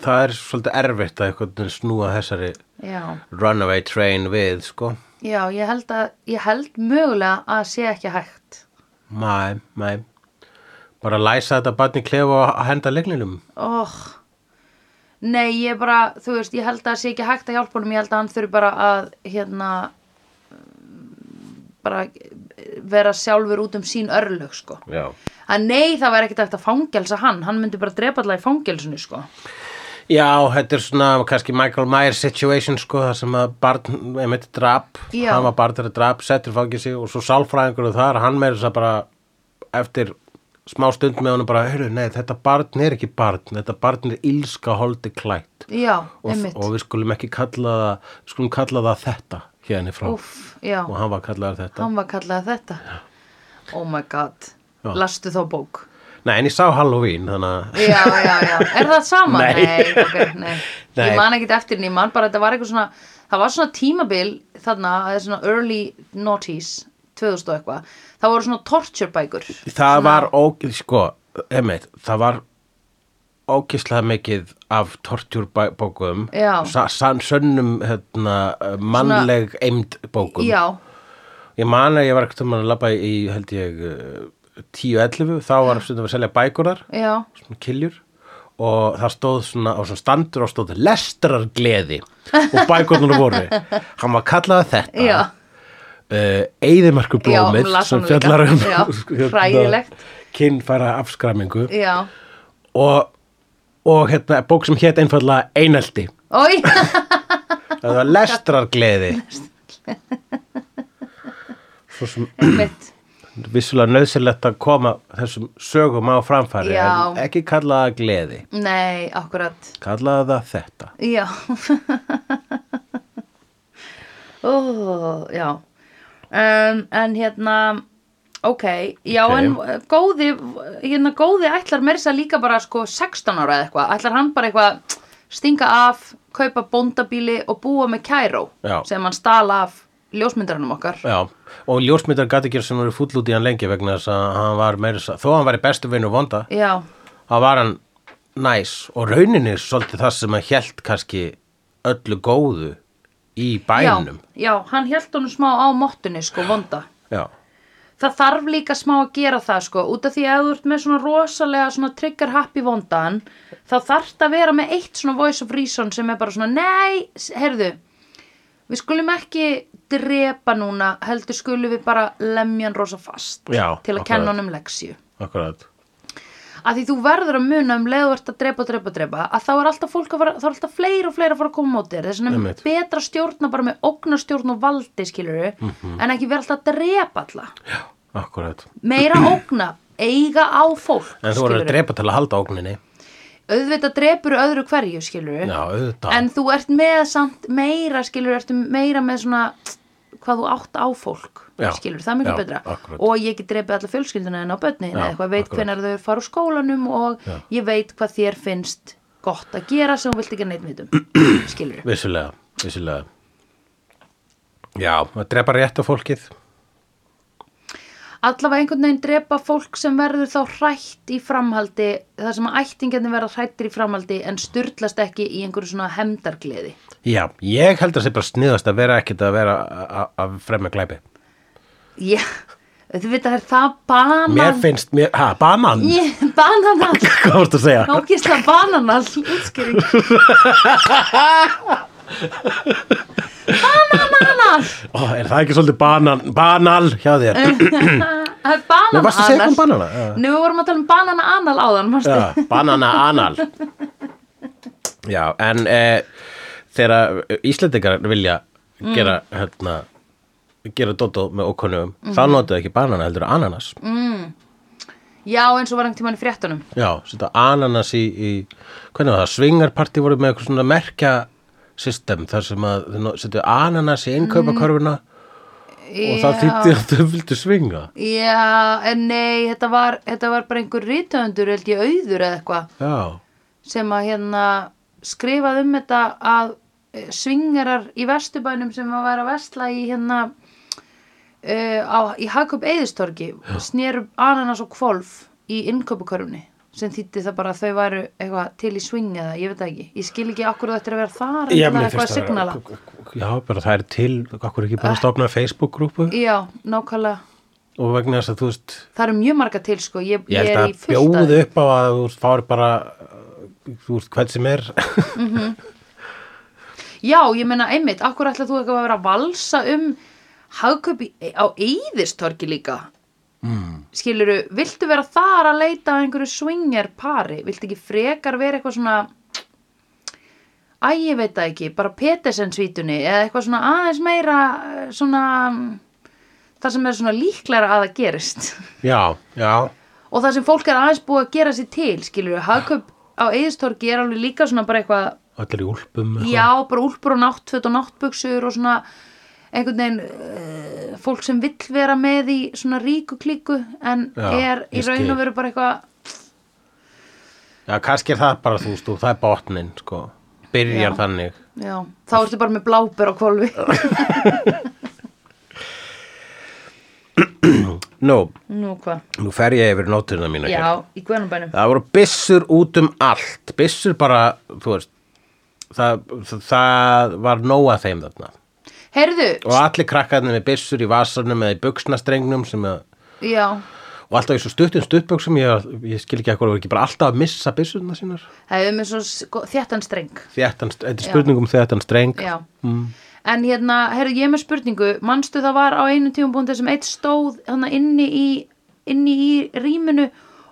Það er svolítið erfitt að eitthvað snúa þessari
Já,
runaway train við sko.
já, ég held að ég held mögulega að sé ekki hægt
Mæ, mæ. Bara læsa þetta barn í klefa og henda leiklinum.
Oh. Nei, ég bara, þú veist, ég held að það sé ekki hægt að hjálpa honum, ég held að hann þurfi bara að, hérna, mm, bara vera sjálfur út um sín örlög, sko.
Já.
Að nei, það væri ekkert hægt að fangelsa hann, hann myndi bara drepa allavega í fangelsinu, sko.
Já, þetta er svona kannski Michael Myers situation sko, það sem að barn, einmitt drap,
Já.
hann var barn þeirra drap, settur fangir sig og svo sálfræðingur þar, hann meira þess að bara eftir smá stund með honum bara, heyrðu, nei, þetta barn er ekki barn, þetta barn er ílska holdi klætt
Já,
og,
einmitt.
og við skulum ekki kalla það, við skulum kalla það þetta hérna frá
Úff, já,
og hann var kallaður þetta.
hann var kallað þetta. Oh my god,
Já.
lastu þá bók.
Nei, en ég sá Halloween, þannig að...
Já, já, já, er það sama?
Nei.
ok, nei.
Nei.
Ég man ekkert eftir henni, ég man bara að þetta var eitthvað svona, það var svona tímabil þarna, það er svona early noughties, 2000 og eitthvað, það voru svona torture bækur.
það var ógið sko, emeit, það var ógislega mikið af tortjúrbókum
Já.
sann sönnum hérna, mannleg eimd bókum
Já,
ég man að ég var ekkert um að labba í held ég eh, 10-11 þá var stundum að selja bækurar
já,
svona kiljur og það stóð svona á svona standur og stóð lestrargleði og bækurnar voru hann var kallaði þetta
Já.
uh, Eyðimarku blómið
Já, las
sem
hann líka.
fjallar um
Já, hræðilegt.
kynfæra afskramingu
já.
og, og hérna, bók sem hétt einfallega Einelti
Ói,
það var lestrargleði svo sem
einmitt,
vissulega nöðsilegt að koma þessum sögum á framfæri
Já.
en ekki kallaða það gleði
nei, akkurat,
kallaða það þetta
já. Ó, já. Um, en hérna, ok, já,
Ok.
en eh, góði, hérna góði ætlar meira þess að líka bara sko 16 ára eða eitthvað, ætlar hann bara eitthvað stinga af, kaupa bóndabíli og búa með kæró
Já.
sem hann stala af ljósmyndarunum okkar.
Já, og ljósmyndar gæti ekki sem voru fúll út í hann lengi vegna þess að hann var meira þess að, þó að hann væri bestu vinur vonda,
Já,
þá var hann næs og rauninni er svolítið það sem að hélt kannski öllu góðu í bænum.
já, já, hann held honum smá á mottunni sko, vonda.
Já,
það þarf líka smá að gera það sko út af því að ef þú ert með svona rosalega svona trigger happy vondan þá þarf það að vera með eitt svona voice of reason sem er bara svona nei, heyrðu við skulum ekki drepa núna heldur skulum við bara lemja hann rosa fast
Já,
til að
akkurat.
kenna hann um leksju
akkurat
að því þú verður að muna um leiðu ert að drepa, drepa, drepa að þá er alltaf fólk að fara, þá er alltaf fleira og fleira að fara að koma á móti þér þess vegna er
Einmitt.
betra að stjórna bara með ógnarstjórn og valdi skiluru
Mhm.
en ekki vera alltaf að drepa alla
akkurat
meira ógna, eiga á fólk
en þú voru að
skilurðu.
drepa til að halda ógninni
auðvitað drepur öðru hverju skiluru
já, auðvitað
en þú ert með samt meira skilur, ertu meira með svona hvað þú átt á fólk
Já,
skilur, það er mikið
já,
betra
akkúrat.
og ég get dreipið alla fjölskylduna en á börnin
Já,
eða eitthvað, veit
akkúrat.
hvenær þau fara úr skólanum og
Já.
ég veit hvað þér finnst gott að gera sem þú vilt ekki að neitt vitum skilur,
vissulega, vissulega já, að drepa rétt á fólkið
allavega einhvern veginn dreipa fólk sem verður þá hrætt í framhaldi þar sem að ættingarnir verða hrættir í framhaldi en styrlast ekki í einhverju svona hemdargleði
já, ég held að það sé bara sniðast að vera ekkit að vera a- a- að fremja glæpi
já, þú veit að það er það banan
mér finnst, mér, ha, banan
Ég, bananall
hvað vorstu að segja?
Ógisla bananall útskýring Bananall
Ó, er það ekki svolítið banan, banal hjá þér?
Eh, Það er
Nei, varstu að segja eitthvað um
bananall
banana? Já.
Nú við vorum að tala um banananall áðan manstu?
Já, banana anal Já, en e, þegar Íslendingar vilja
Mm.
gera hérna gera dótó með ókunnum þá
Mhm.
notuðu ekki banana heldur ananas
Já, eins og var hann tímann í fréttunum
Já, setja ananas í, í hvernig var það, svingarparti voru með eitthvað svona merkja system þar sem að þau no- setja ananas í innkaupakorfuna
Mm.
og það þýtti að þau vildu svinga
Já, en nei, þetta var, þetta var bara einhver rítöndur, held ég auður eða eitthvað
Já,
sem að hérna skrifaði um þetta að eh, svingarar í vestubænum sem að vera að vestla í hérna uh, á, í Hakup Eðistorgi snéru ananas og kvolf í innköpukörfunni sem þýtti það bara að þau væru eitthvað til í swing eða ég veit það ekki, ég skil ekki akkur þetta er að vera þar en það er eitthvað að signala
Já, bara það er til, okkur ekki bara að stopna Facebook-grúpu
Já, nákvæmlega
og vegna þess að þú veist
það eru mjög marga til sko, ég,
ég
ég
held
er í
að
fullt
bjóðu
að
upp á að þú veist, fáir bara uh, þú veist hvern sem er
Já, ég meina einmitt, akkur ætla þú eitthvað að vera að valsa um hagkaup í, á eyðistorki líka? Mm. Skiluru, viltu vera þar að leita að einhverju swinger pari? Viltu ekki frekar vera eitthvað svona, æ, ég veit það ekki, bara Petersen svítunni eða eitthvað svona aðeins meira eh, svona, það sem er svona líklæra að það gerist?
já, já,
og það sem fólk er aðeins búið að gera sér til, skiluru, hagkaup á eyðistorki er alveg líka svona bara eitthvað
allir í úlpum eitthvað.
Já, bara úlpur og náttföt og náttbuksur og svona einhvern veginn uh, fólk sem vill vera með í svona ríku klíku en
Já,
er í
ég skil.
raun og veru bara eitthvað
já, kannski er það bara þú veist, og það er botnin sko, byrjar
Já.
þannig
já, þá ertu bara með bláber á kvolfi
nú,
Nú hvað,
nú fer ég yfir nótuna mína
já,
hér.
í guðanabænum
það voru byssur út um allt byssur bara, þú veist það, það, það var nóa þeim þarna
Heyrðu,
og allir krakkarnir með byssur í vasanum eða í buksnastrengnum sem að
já
og alltaf í svo stuttum stuttböksum ég, ég skil ekki að hvað voru ekki bara alltaf að missa byssurna sínar
það hefur með svo sko- þéttan streng
þéttan, þetta er spurning um þéttan streng
já
Mm.
En hérna, heyrðu, ég er með spurningu, manstu það var á einu tíum búin þessum eitt stóð hana, inni, í, inni í rýminu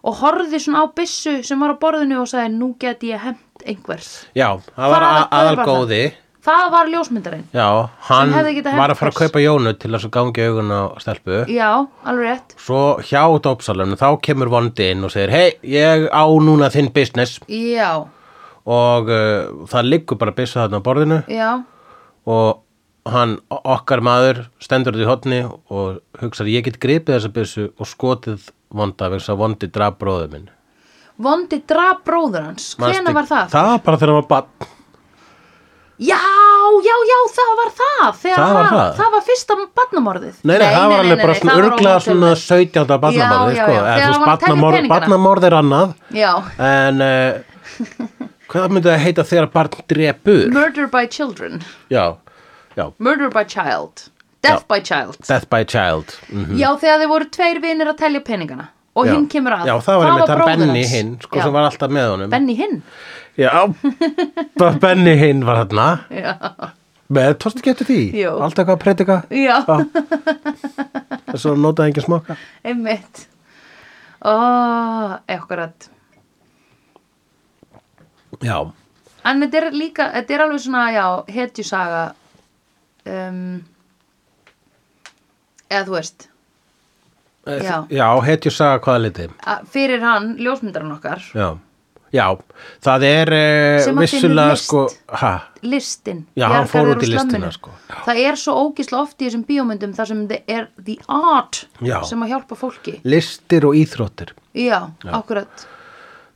og horfði svona á byssu sem var á borðinu og sagði, nú get ég hent einhvers.
já, það var
Hvaða- hver var
aðalgóði
Það var ljósmyndarinn.
já, hann
hefði getað
var
hent
að fara að
þess.
kaupa jónu til þess að gangi augun á stelpu
Já, alveg rétt.
svo hjá dópsalunum þá kemur vondi inn og segir hei, ég á núna þinn business
Já,
og uh, það liggur bara byssa þarna á borðinu
já,
og hann, okkar maður stendur út í hotni og hugsar ég get gripið þessa byssu og skotið vonda vegna þess að vondi draf bróðu minn
vondi draf bróður hans. Hvena
Manstu-
var það?
Það var bara þegar hann var bann
Já, já, já, það var það. Þegar
Það var það.
Það var fyrsta barnamorðið.
Nei, nei, það var alveg bara
nei,
svona
það var á
örglega
hótelinu.
svona 17. barnamorði,
Já, já,
sko.
já,
Eða,
þegar
þú
hann var að taka
barnamorð-
peningana.
Barnamorð er annað,
Já,
en uh, hvað myndi það heita þegar barn drepur?
murder by children,
Já, já,
murder by child, death by child.
death by child. Mm.
Já, þegar þið voru tveir vinir að telja peningana og
Já.
hinn kemur að.
Já, það var einmitt að
bróðir
Benny
hans.
hinn, sko,
Já.
sem var alltaf með honum.
Benny hinn?
Já, bara Benny hinn var þarna.
Já.
Með, tóstu ekki eftir því?
Jú.
Alltaf eitthvað að predika?
Já,
En svo notaði engin smaka?
einmitt. Ó, akkurat.
Já.
En þetta er líka, þetta er alveg svona, já, hetjusaga. Um, eða þú veist, Já.
Já, hetju saga hvaða litið.
að fyrir hann, ljósmyndarinn okkar,
Já. Já, það er eh,
Sem átti
vissulega
list.
sko... Hæ?
listin.
Já, hann fór
Bjargarður
út í
og
listina,
slamminu.
sko.
Það er svo ógisla oft í þessum bíómyndum þar sem það er the art
Já.
sem að hjálpa fólki.
Listir og íþróttir.
Já, akkurat.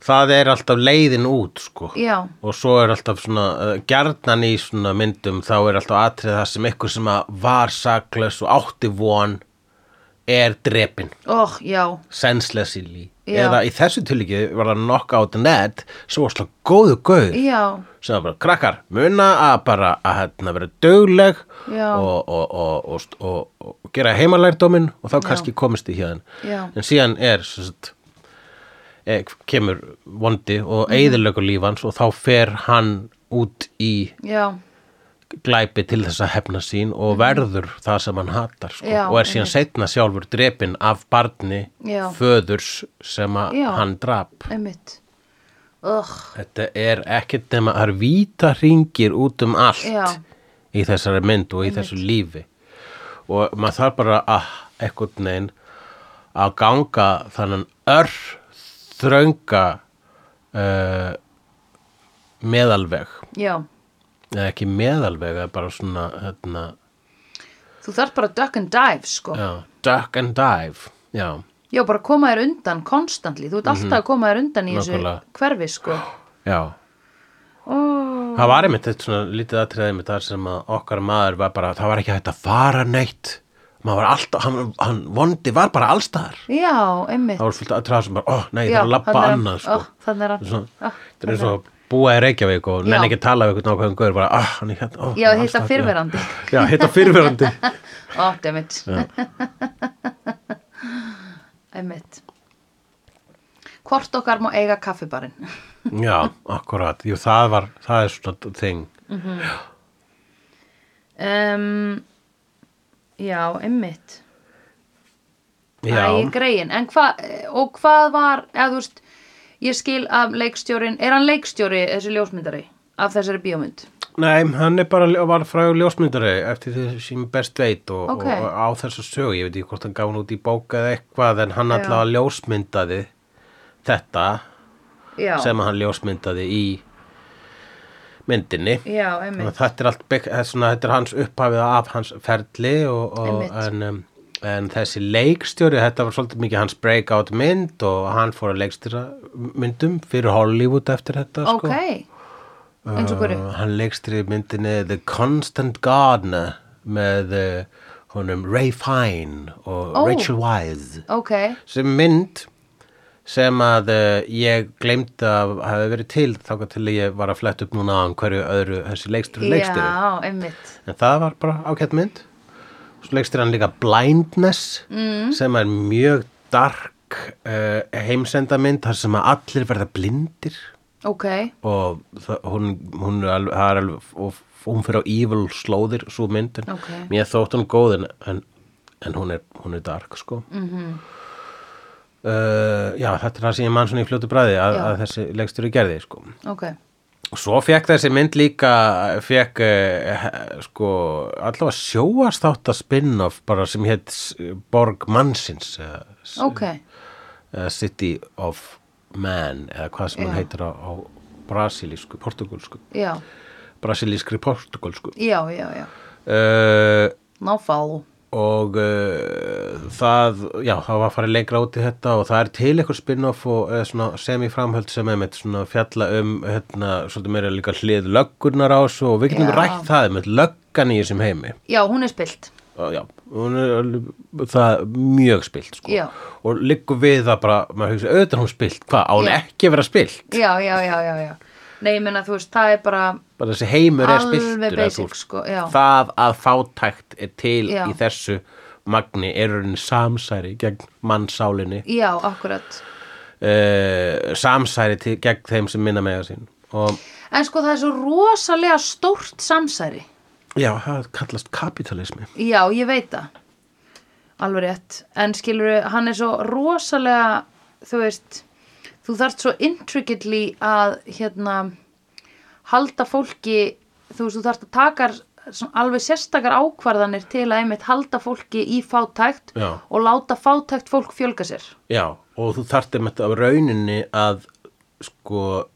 það er alltaf leiðin út sko.
Já.
og svo er alltaf svona uh, gjarnan í svona myndum þá er alltaf atrið það sem eitthvað sem að var saklaus og átti von er drepin
Ó, já,
senslesili
Já.
eða í þessu tilíki var það knockout net svo var svona góðu gauð
já,
sem var bara krakkar muna að bara að hérna vera dögleg
Já.
og, og, og, og, og, og, gera heimalærdómin og þá kannski komist í hérna
Já.
en síðan er sem sagt, e, kemur vondi
Mhm.
og eigðilegu lífans og þá fer hann út í
já,
glæpi til þess að hefna sín og verður það sem hann hatar sko.
Mhm. Já,
og er síðan setna sjálfur drepin af barni
Já.
föðurs sem að
Já.
hann drap
einmitt. Ugh.
Þetta er ekkert nema að það er víta ringir út um allt
Já.
í þessari mynd og í þessu lífi og maður þarf bara að ekkert neginn að ganga þannan ör þrönga uh, meðalveg
Já,
eða ekki meðalveg eða bara svona hérna,
þú þarf bara að duck and dive sko. Já,
já, duck and dive já,
bara koma þér undan konstantli, þú ert alltaf að koma þér undan í
Mhm. Nákvæmlega.
þessu hverfi sko.
já
Oh,
Það var einmitt eitt svona lítið atriðið með það sem að okkar maður var bara, það var ekki hægt að fara neitt. Maður var alltaf, hann, hann vondi var bara allstaðar.
já, einmitt.
Það var svolítið atriðið sem bara, ó, nei, það
já,
er að labba
þarna er hann-
annað, sko.
ó, Þannig er hann.
Svona,
ó,
það er eins
þarna-
og að búa í Reykjavík og
Já.
nenni ekki að tala við einhvern ákveðum guður, bara, ah, hann er hérna, ó.
Já,
hann er
hitta
allstaðar."
fyrrverandi.
Já, Já, hitta fyrverandi.
Ó, einmitt. Einmitt. Hvort okkar má eiga kaffibarinn?
Já, akkurat. Jú, það var, það er svona þing.
Um, já, einmitt.
Já,
Æ, greiðin. En hvað, og hvað var, eða þú veist, ég skil að leikstjórin, er hann leikstjóri þessi ljósmyndari af þessari bíómynd?
nei, hann er bara, var frægur ljósmyndari eftir því sem ég best veit og,
Ok.
og á þessu sögu, ég veit ekki hvort hann gaf hann út í bók eða eitthvað en hann
Já.
allavega ljósmyndaði þetta
Já,
sem hann ljósmyndaði í myndinni
já,
Þannig að
einmitt.
þetta er allt bygg, þetta er svona, þetta er hans upphafið af hans ferli og, og
Einmitt.
en, um, en þessi leikstjóri þetta var svolítið mikið hans breakout mynd og hann fór að leikstjóra myndum fyrir Hollywood eftir þetta
Ok,
sko.
eins og hverju.
Uh, hann leikstýri myndinni The Constant Gardener með uh, honum Ray Fine og
Ó.
Rachel Wise
Ok,
sem mynd sem að uh, ég gleymd að hafi verið til þáka til ég var að fletta upp núna á hverju öðru þessi leikstýri leikstýri
já, einmitt.
en það var bara ágætt mynd svo leikstir hann líka Blindness mm. sem er mjög dark uh, heimsendamynd þar sem að allir verða blindir
Ok,
og það, hún, hún er alveg, það er alveg og hún fyrir á evil slóðir svo mynd en
Ok.
mér þótt hún góð en, en, en hún, er, hún er dark sko mm -hmm.
Mhm.
já þetta er það sem ég mann svona í fljótu bræði að,
Já.
að þessi leikstjóri gerði sko
ok,
svo fekk þessi mynd líka fekk uh, sko allavega sjóast þátt að spin-off bara sem hétt S- Borg Mannsins eða S-
ok.
eða City of Man eða hvað sem hún
Já.
heitir á, á brasilísku, portugalsku
Já,
brasilískri portugalsku
já, já, já.
uh,
Ná fálu.
og uh, það já, það var farið lengra út í þetta og það er til eitthvað spin-off og eða svona semiframhöld sem er með svona fjalla um hérna, svolítið meira líka hlið löggurnar á þessu og við getum
Já.
rætt það með löggan í þessum heimi
Já, hún er spilt.
og já, hún er alveg- það er mjög spilt sko.
Já.
og liggur við það bara, maður hugsa auðvitað er hún spilt, hvað, á hún
Já.
ekki að vera spilt
Já, já, já, já, já. Nei, ég meina, þú veist, það er bara
bara þessi heimur er
Alveg
spiltur eða
basic,
þú-
sko, já.
það að fátækt er til
Já.
í þessu magni er raunin samsæri gegn mannsálinni
Já, akkurat.
uh, samsæri til, gegn þeim sem minna mega sín og
En sko, það er svo rosalega stórt samsæri.
Já, það kallast kapitalismi.
Já, ég veit það. Alveg rétt. En skilur, hann er svo rosalega, þú veist, þú þarft svo intricately að, hérna, halda fólki, þú veist, þú þarft að taka svona alveg sérstakar ákvarðanir til að einmitt halda fólki í fátækt
Já.
og láta fátækt fólk fjölga sér.
Já, og þú þarft einmitt af rauninni að sko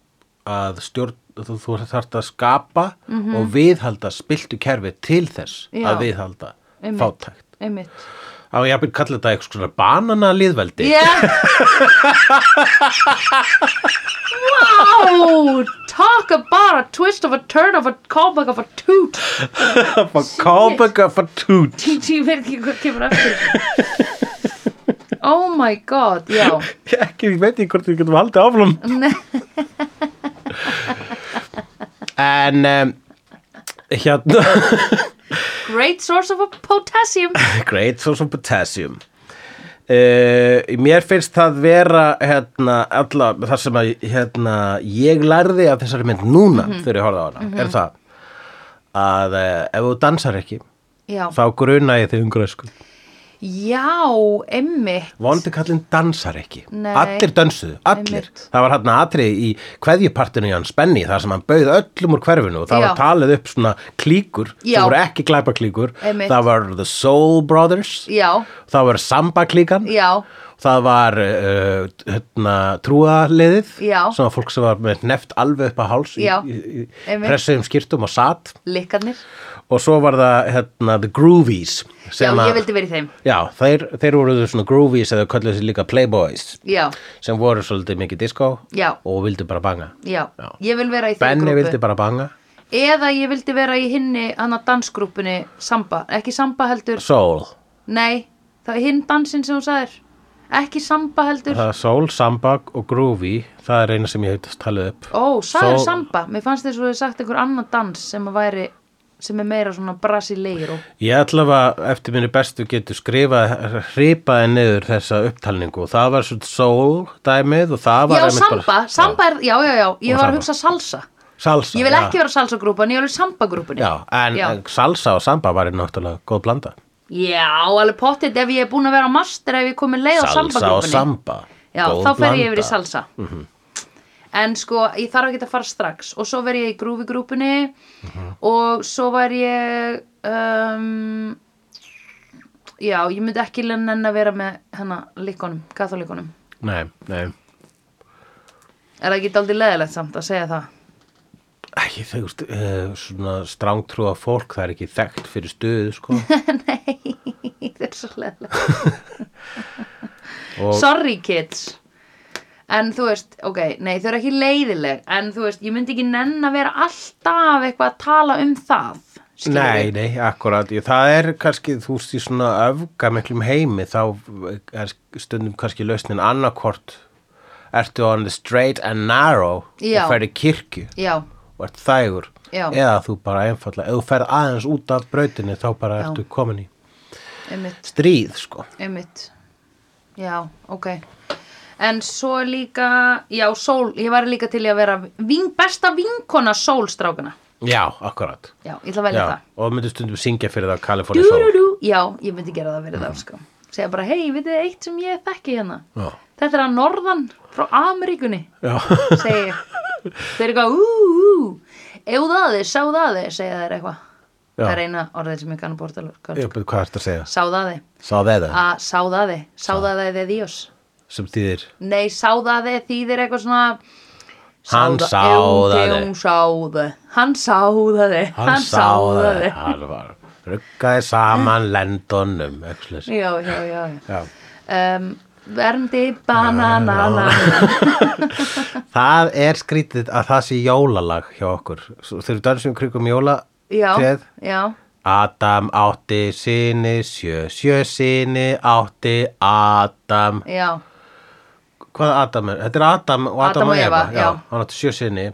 að stjórn þú, þú þarft að skapa og viðhalda spiltu kerfi til þess
Mhm. Já.
að viðhalda
Einmitt.
fátækt.
Einmitt.
Á ég að byrja kalla þetta eitthvað svona banana liðveldi.
Yeah. wow! Talk about a twist of a turn of a callback of a toot.
Yeah. Kábega fatút.
Ég veit ekki hvað kemur eftir. Oh my god, já.
Ég ekki, ég veit ekki hvort við getum haldið áfram. en um, hérna
Great source of a potassium.
Great source of potassium Uh, mér finnst það vera hérna, alla, það sem að hérna, ég lærði af þessari mynd núna þegar ég horfði á hana, er það að uh, ef þú dansar ekki
Já,
þá gruna ég þig um grösku
já, emmi.
vondi kallinn dansar ekki
Nei.
allir dansuðu, allir
Einmitt.
það var hann atrið í kveðjupartinu í hann spenni þar sem hann bauð öllum úr hverfinu og það
Já.
var talið upp svona klíkur
Já.
sem voru ekki glæpa klíkur
Einmitt.
það var The Soul Brothers
Já,
það var Samba klíkan
já,
Það var uh, hérna, trúaliðið,
Já.
sem var fólk sem var með neft alveg upp að háls í,
Já.
í, í
Einmitt.
pressuðum skýrtum og satt
likkarnir.
og svo var það hérna, The Groovies.
Já,
sem
ég
að-
vildi verið þeim.
Já, þeir, þeir voru svona Groovies eða kölluðu sér líka Playboys
Já,
sem voru svolítið mikið disco
Já.
og vildu bara banga.
já,
Já.
ég vil vera í þeim
Benni
grúpu.
vildi bara banga,
Eða ég vildi vera í hinni, hann að dansgrúpunni Samba. Ekki Samba heldur,
Soul,
nei, það er hinn dansinn sem hún sagðir. Ekki Samba heldur.
það er Soul, Samba og Groovy, það er eina sem ég heitast talið upp.
Ó, sagður
Soul-
Samba. Mér fannst þess að þú hefði sagt einhver annan dans sem að væri, sem er meira svona brasileiro.
Ég ætla að eftir minni bestu getur skrifað, hripaði niður þessa upptalningu og það var svona soul dæmið og það var
Já,
einmitt bara-
Samba, Samba er, já, já, já, ég
Og Samba.
var að hugsa salsa.
Salsa,
Ég vil
já.
ekki vera salsa-grúpan, ég vil vera Samba-grúpunni.
Já, en
Já.
en salsa og samba var náttúrulega góð blanda.
Já, alveg pottitt ef ég er búin að vera á master ef ég komi leið á
Salsa og
sambagrúpunni
samba.
Já,
góð
þá
blanda.
fer ég
Mhm.
yfir í salsa En sko, ég þarf ekki að fara strax og svo verð ég í grúfigrúpunni
Mhm.
og svo var ég um, Já, ég myndi ekki nenn að vera með hennar líkonum, katholíkonum
Nei, nei.
Er það ekki aldrei leðilegt samt að segja það?
Ekki þegust, uh, svona strángtrúa fólk, það er ekki þekkt fyrir stuðu, sko.
Nei, það er svo leðilegt
Og,
Sorry kids En þú veist, ok, nei þau eru ekki leiðileg En þú veist, ég myndi ekki nenn að vera alltaf eitthvað að tala um það skilurðu.
nei, nei, akkurat. Ég, það er kannski, þú veist, í svona öfga miklum heimi, þá er stundum kannski lausnin annarkort. Ertu on the straight and narrow
Já.
og ferð í kirkju
Já,
og ert þægur.
Já.
Eða þú bara einfallega, ef þú ferð aðeins út af brautinni, þá bara
Já.
ertu komin í
einmitt,
stríð, sko.
einmitt Já, ok En svo er líka, já, sól Ég var líka til í að vera ving, besta vinkona sólstrákana
Já, akkurat.
Já, ég ætla að velja
Já,
það
og myndu stundum syngja fyrir það California Soul.
Dúrúrú, já, ég myndi gera það
Mhm.
verið það sko. Segja bara, hei, vitið þið eitt sem ég þekki hérna
Já.
Þetta er að norðan frá Ameríkunni
Já.
segi ég. Þeir eru eitthvað, ú, ú, eða það þið, sá það þið, segja þeir eitthvað.
Já.
Það er eina orðið sem ég kannu bortalur.
Ég veit hvað ertu að segja.
Sá það þið,
Sá þeirra,
að sá það þið, sá það þið þið djós.
sem þýðir.
Nei, sá það þið þýðir eitthvað svona...
Hann
sáða-
sá
Jú,
það
jú,
þig.
sá það. Hann sá það þið,
Hann
hann sá það þið.
Hann var, ruggaði saman lendunum, aukslis.
Já, já, já, já.
Já.
Um, verndi bananana.
hérna. Það er skrítið að það sé jólalag hjá okkur. Svo Þegar við dansum í krigum jóla,
Já,
treð,
já,
Adam átti sinni, sjö, sjö sinni átti Adam.
já.
Hvað Adam er? Þetta er Adam og Adam,
Adam og Eva,
já.
já.
Hann átti sjö sinni.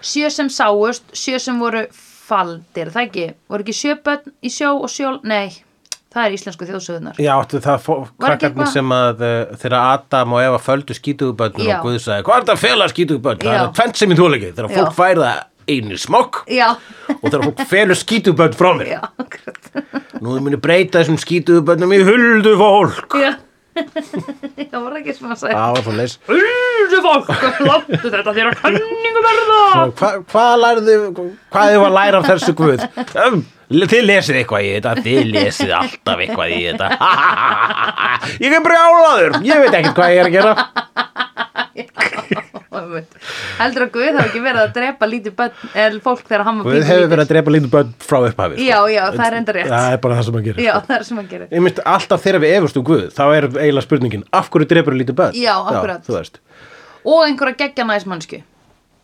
sjö sem sáust, sjö sem voru faldir, það ekki, voru ekki sjö börn í sjó og sjól, nei það er íslensku þjóðsöðunar
Já, áttu það fó-
Var ekki
krakkarnir
eitthvað-
sem að uh, þegar Adam og Eva földu skítuguböndin
Já.
og Guð sagði, hvað er það að fela skítugubönd? Það
Já.
er tvent sem ég tóla ekki, þegar
Já.
fólk fær það einir smokk
já,
og þegar fólk felur skítubönd frá mér
já, akkurat.
nú þau muni breyta þessum skítuböndum í huldufólk
já. ég voru ekki sem að segja
það var svo leys
Uldufólk, láttu þetta þér að kanningu verða
hvað hva lærðu hvað þau var að læra af þessu guð um, þið lesið eitthvað í þetta þið lesið alltaf eitthvað í þetta ég er brjálaður ég veit ekkert hvað ég er að gera
Heldur að Guð hafa ekki verið að drepa lítið börn, eða fólk þegar hann var
Guð
pínulítill?
hefur verið að drepa lítið börn frá upphafi sko.
Já, já, það er enda rétt.
það er bara það sem að gera
Já, það er sem hann gerir
Ég myndi alltaf þegar við efast um Guð, þá er eiginlega spurningin, af hverju drefur lítið börn?
Já, akkurat.
þú veist,
Og einhverja geggja næs mannsku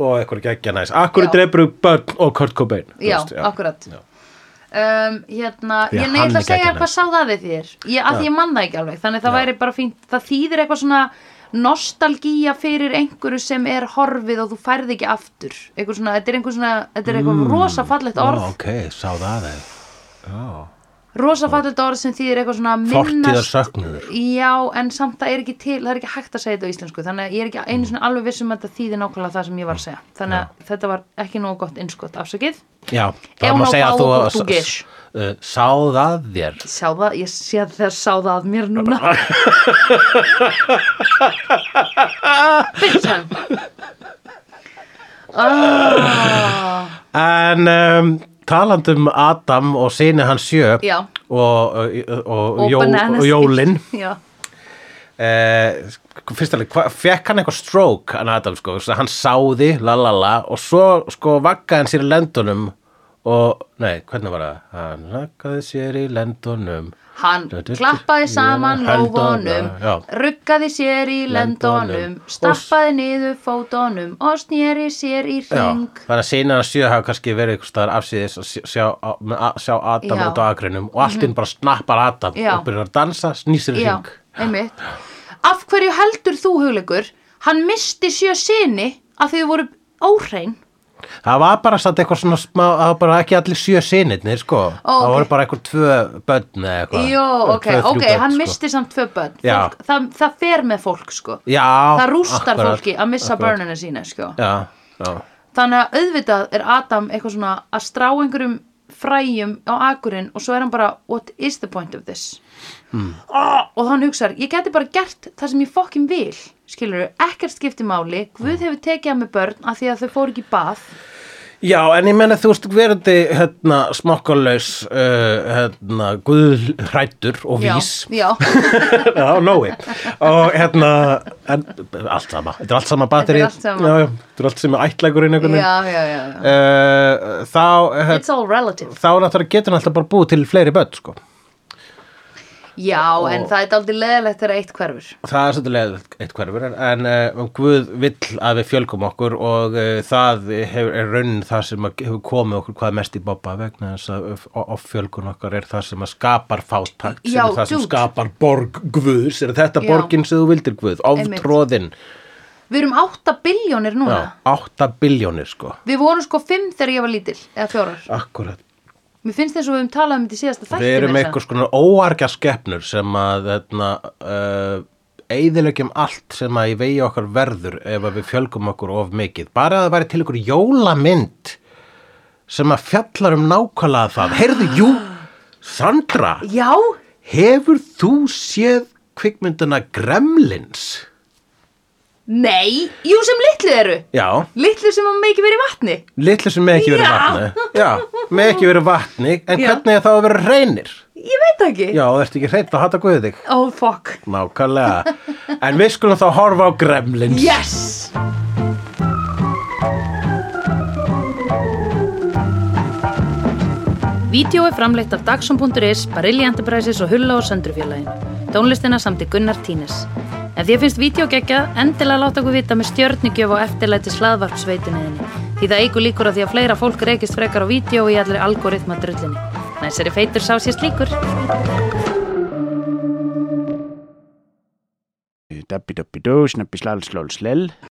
og eitthvað geggja næs, af hverju
Já.
drefur börn og Kurt Cobain? Þú
Já,
veist,
akkurat
Já.
um, Hérna,
Já,
ég
hann
neitt
er
að segja
geggjaður.
hvað sá það við þér ég, að
Já.
ég man það ekki alveg, þannig það
Já.
væri bara fínt það þýðir eitthvað svona nostalgía fyrir einhverju sem er horfið og þú færð ekki aftur eitthvað svona, þetta er einhver svona, þetta er eitthvað
Mm.
rosa fallegt orð,
Ó, ok, sá það þeim. Já,
rosa fallegt orð sem þýðir eitthvað svona
fortíðar
minnast
söknuður.
Já, en samt það er ekki til, það er ekki hægt að segja þetta á íslensku þannig að ég er ekki
Mm.
einu svona alveg viss um að þetta þýði nákvæmlega það sem ég var að segja þannig að þetta var ekki nógu gott innskott afsakið
Já,
Eu
það má
não
segja að
falo
þú
português.
uh, sá það þér.
Sjá það, ég sé að það sá það að mér núna Bitchan ah,
En um, talandi um Adam og sinni hans sjö
Já.
og, uh, og,
Og
Jó-
bananas.
og Jólin.
Já,
eh, fyrst alveg, hva, fekk hann eitthvað stroke hann Adam sko, Svo hann sáði la la la og svo sko vaggaði hann sér í lendunum og, nei, hvernig var það hann vaggaði sér í lendunum
hann
Du- du- du-
klappaði saman
Höldunum,
lófunum
já.
ruggaði sér í lendunum
Lendunum.
stappaði niður fótunum og sneri sér í
Já,
hring
þannig að sína hann sjö hafa kannski verið eitthvað staðar afsýðis að sjá, sjá, að sjá Adam
Já. Mhm.
út á akrinum og allt inn bara snappar Adam
Já.
og byrjar að dansa, snýsir í
Já,
hring
einmitt. Af hverju heldur þú hugleikur? Hann misti sjö sinni að þau voru óhrein.
Það var bara satt eitthvað svona smá, það var bara ekki allir sjö sinirnir, sko.
Ó,
Það
ok.
voru bara eitthvað tvö börn eða eitthvað.
Jó, ok,
Tvö, þrjú
ok,
börn,
hann
sko.
misti samt tvö börn.
Já.
Fólk, það, það fer með fólk, sko.
Já,
það rústar
akkurat,
fólki að missa
akkurat.
börnina sína, sko.
Já, já,
Þannig að auðvitað er Adam eitthvað svona að strá einhverjum fræjum á akurinn og svo er hann bara, what is the point of this?
Hmm.
Oh, og hann hugsar, ég geti bara gert það sem ég fokkin vil, skilur ekkert skipti máli, Guð
Hmm.
hefur tekið að með börn af því að þau fóru ekki í bað.
já, en ég menna þú veist verandi hérna, smokkalaus uh, hérna, guðhrættur og
Já,
vís
já,
Já, nói og hérna, en, allt sama þetta er allt sama batterið
allt sama.
Já, já, þetta er allt sem er ætlægurinn einhvern veginn
já, já, já, já.
uh, þá, hérna,
It's all relative
þá náttúrulega getur hann alltaf bara búið til fleiri börn, sko
Já, en það er aldrei leðilegt þegar eitt hverfur
Það er svolítið leðilegt eitt hverfur en- en uh, Guð vill að við fjölgum okkur og uh, það hefur, er raunin það sem að hefur komið okkur hvað mest í bobba vegna þess að eh, offjölgun okkar er það sem að skapar fátakt sem
Já,
er það sem
dude.
skapar borg Guðs er þetta
Já.
borgin sem þú vildir Guð oftróðin,
Við erum 8 biljónir núna
já, 8 biljónir sko,
Við vorum sko 5 þegar ég var lítil eða fjórar
akkurat
Mér finnst þess að við höfum talað um þetta í síðasta þætti
Við erum
meira að
einhvers konar óarga skepnur sem að þarna, uh, eigðilegjum allt sem að í vegi okkar verður ef að við fjölgum okkur of mikið. Bara að það væri til ykkur jólamynd sem að fjallar um nákvæmlega það. Heyrðu, jú, Sandra,
segja. Já,
hefur þú séð kvikmyndina Gremlins?
nei, jú sem litlu eru
Já,
Litlu sem að meiki verið í vatni
litlu sem með ekki verið
Já.
vatni. Já, með ekki verið vatni, en
Já.
hvernig er það að vera reynir?
Ég veit það ekki
Já, það ertu ekki reynd að hata guðið þig.
Oh fuck
Nákvæmlega. En við skulum þá horfa á Gremlins.
Yes Vídeó er framleitt af Dagsum.is, Barilli Enterprises og Hulla og Söndrufjörlægin. Tónlistina samt í Gunnar Tínes. Ef því finnst vídeo geggja, endilega láta okkur vita með stjörnugjöf og eftirlæti slaðvarpsveituninni. Því það eigur líkur að því að fleira fólk reykist frekar á vídeo og í allri algoritma drullinni. Næsari feitur sá sér slíkur.
Dabbi dabbi dó, snabbi slal slal slel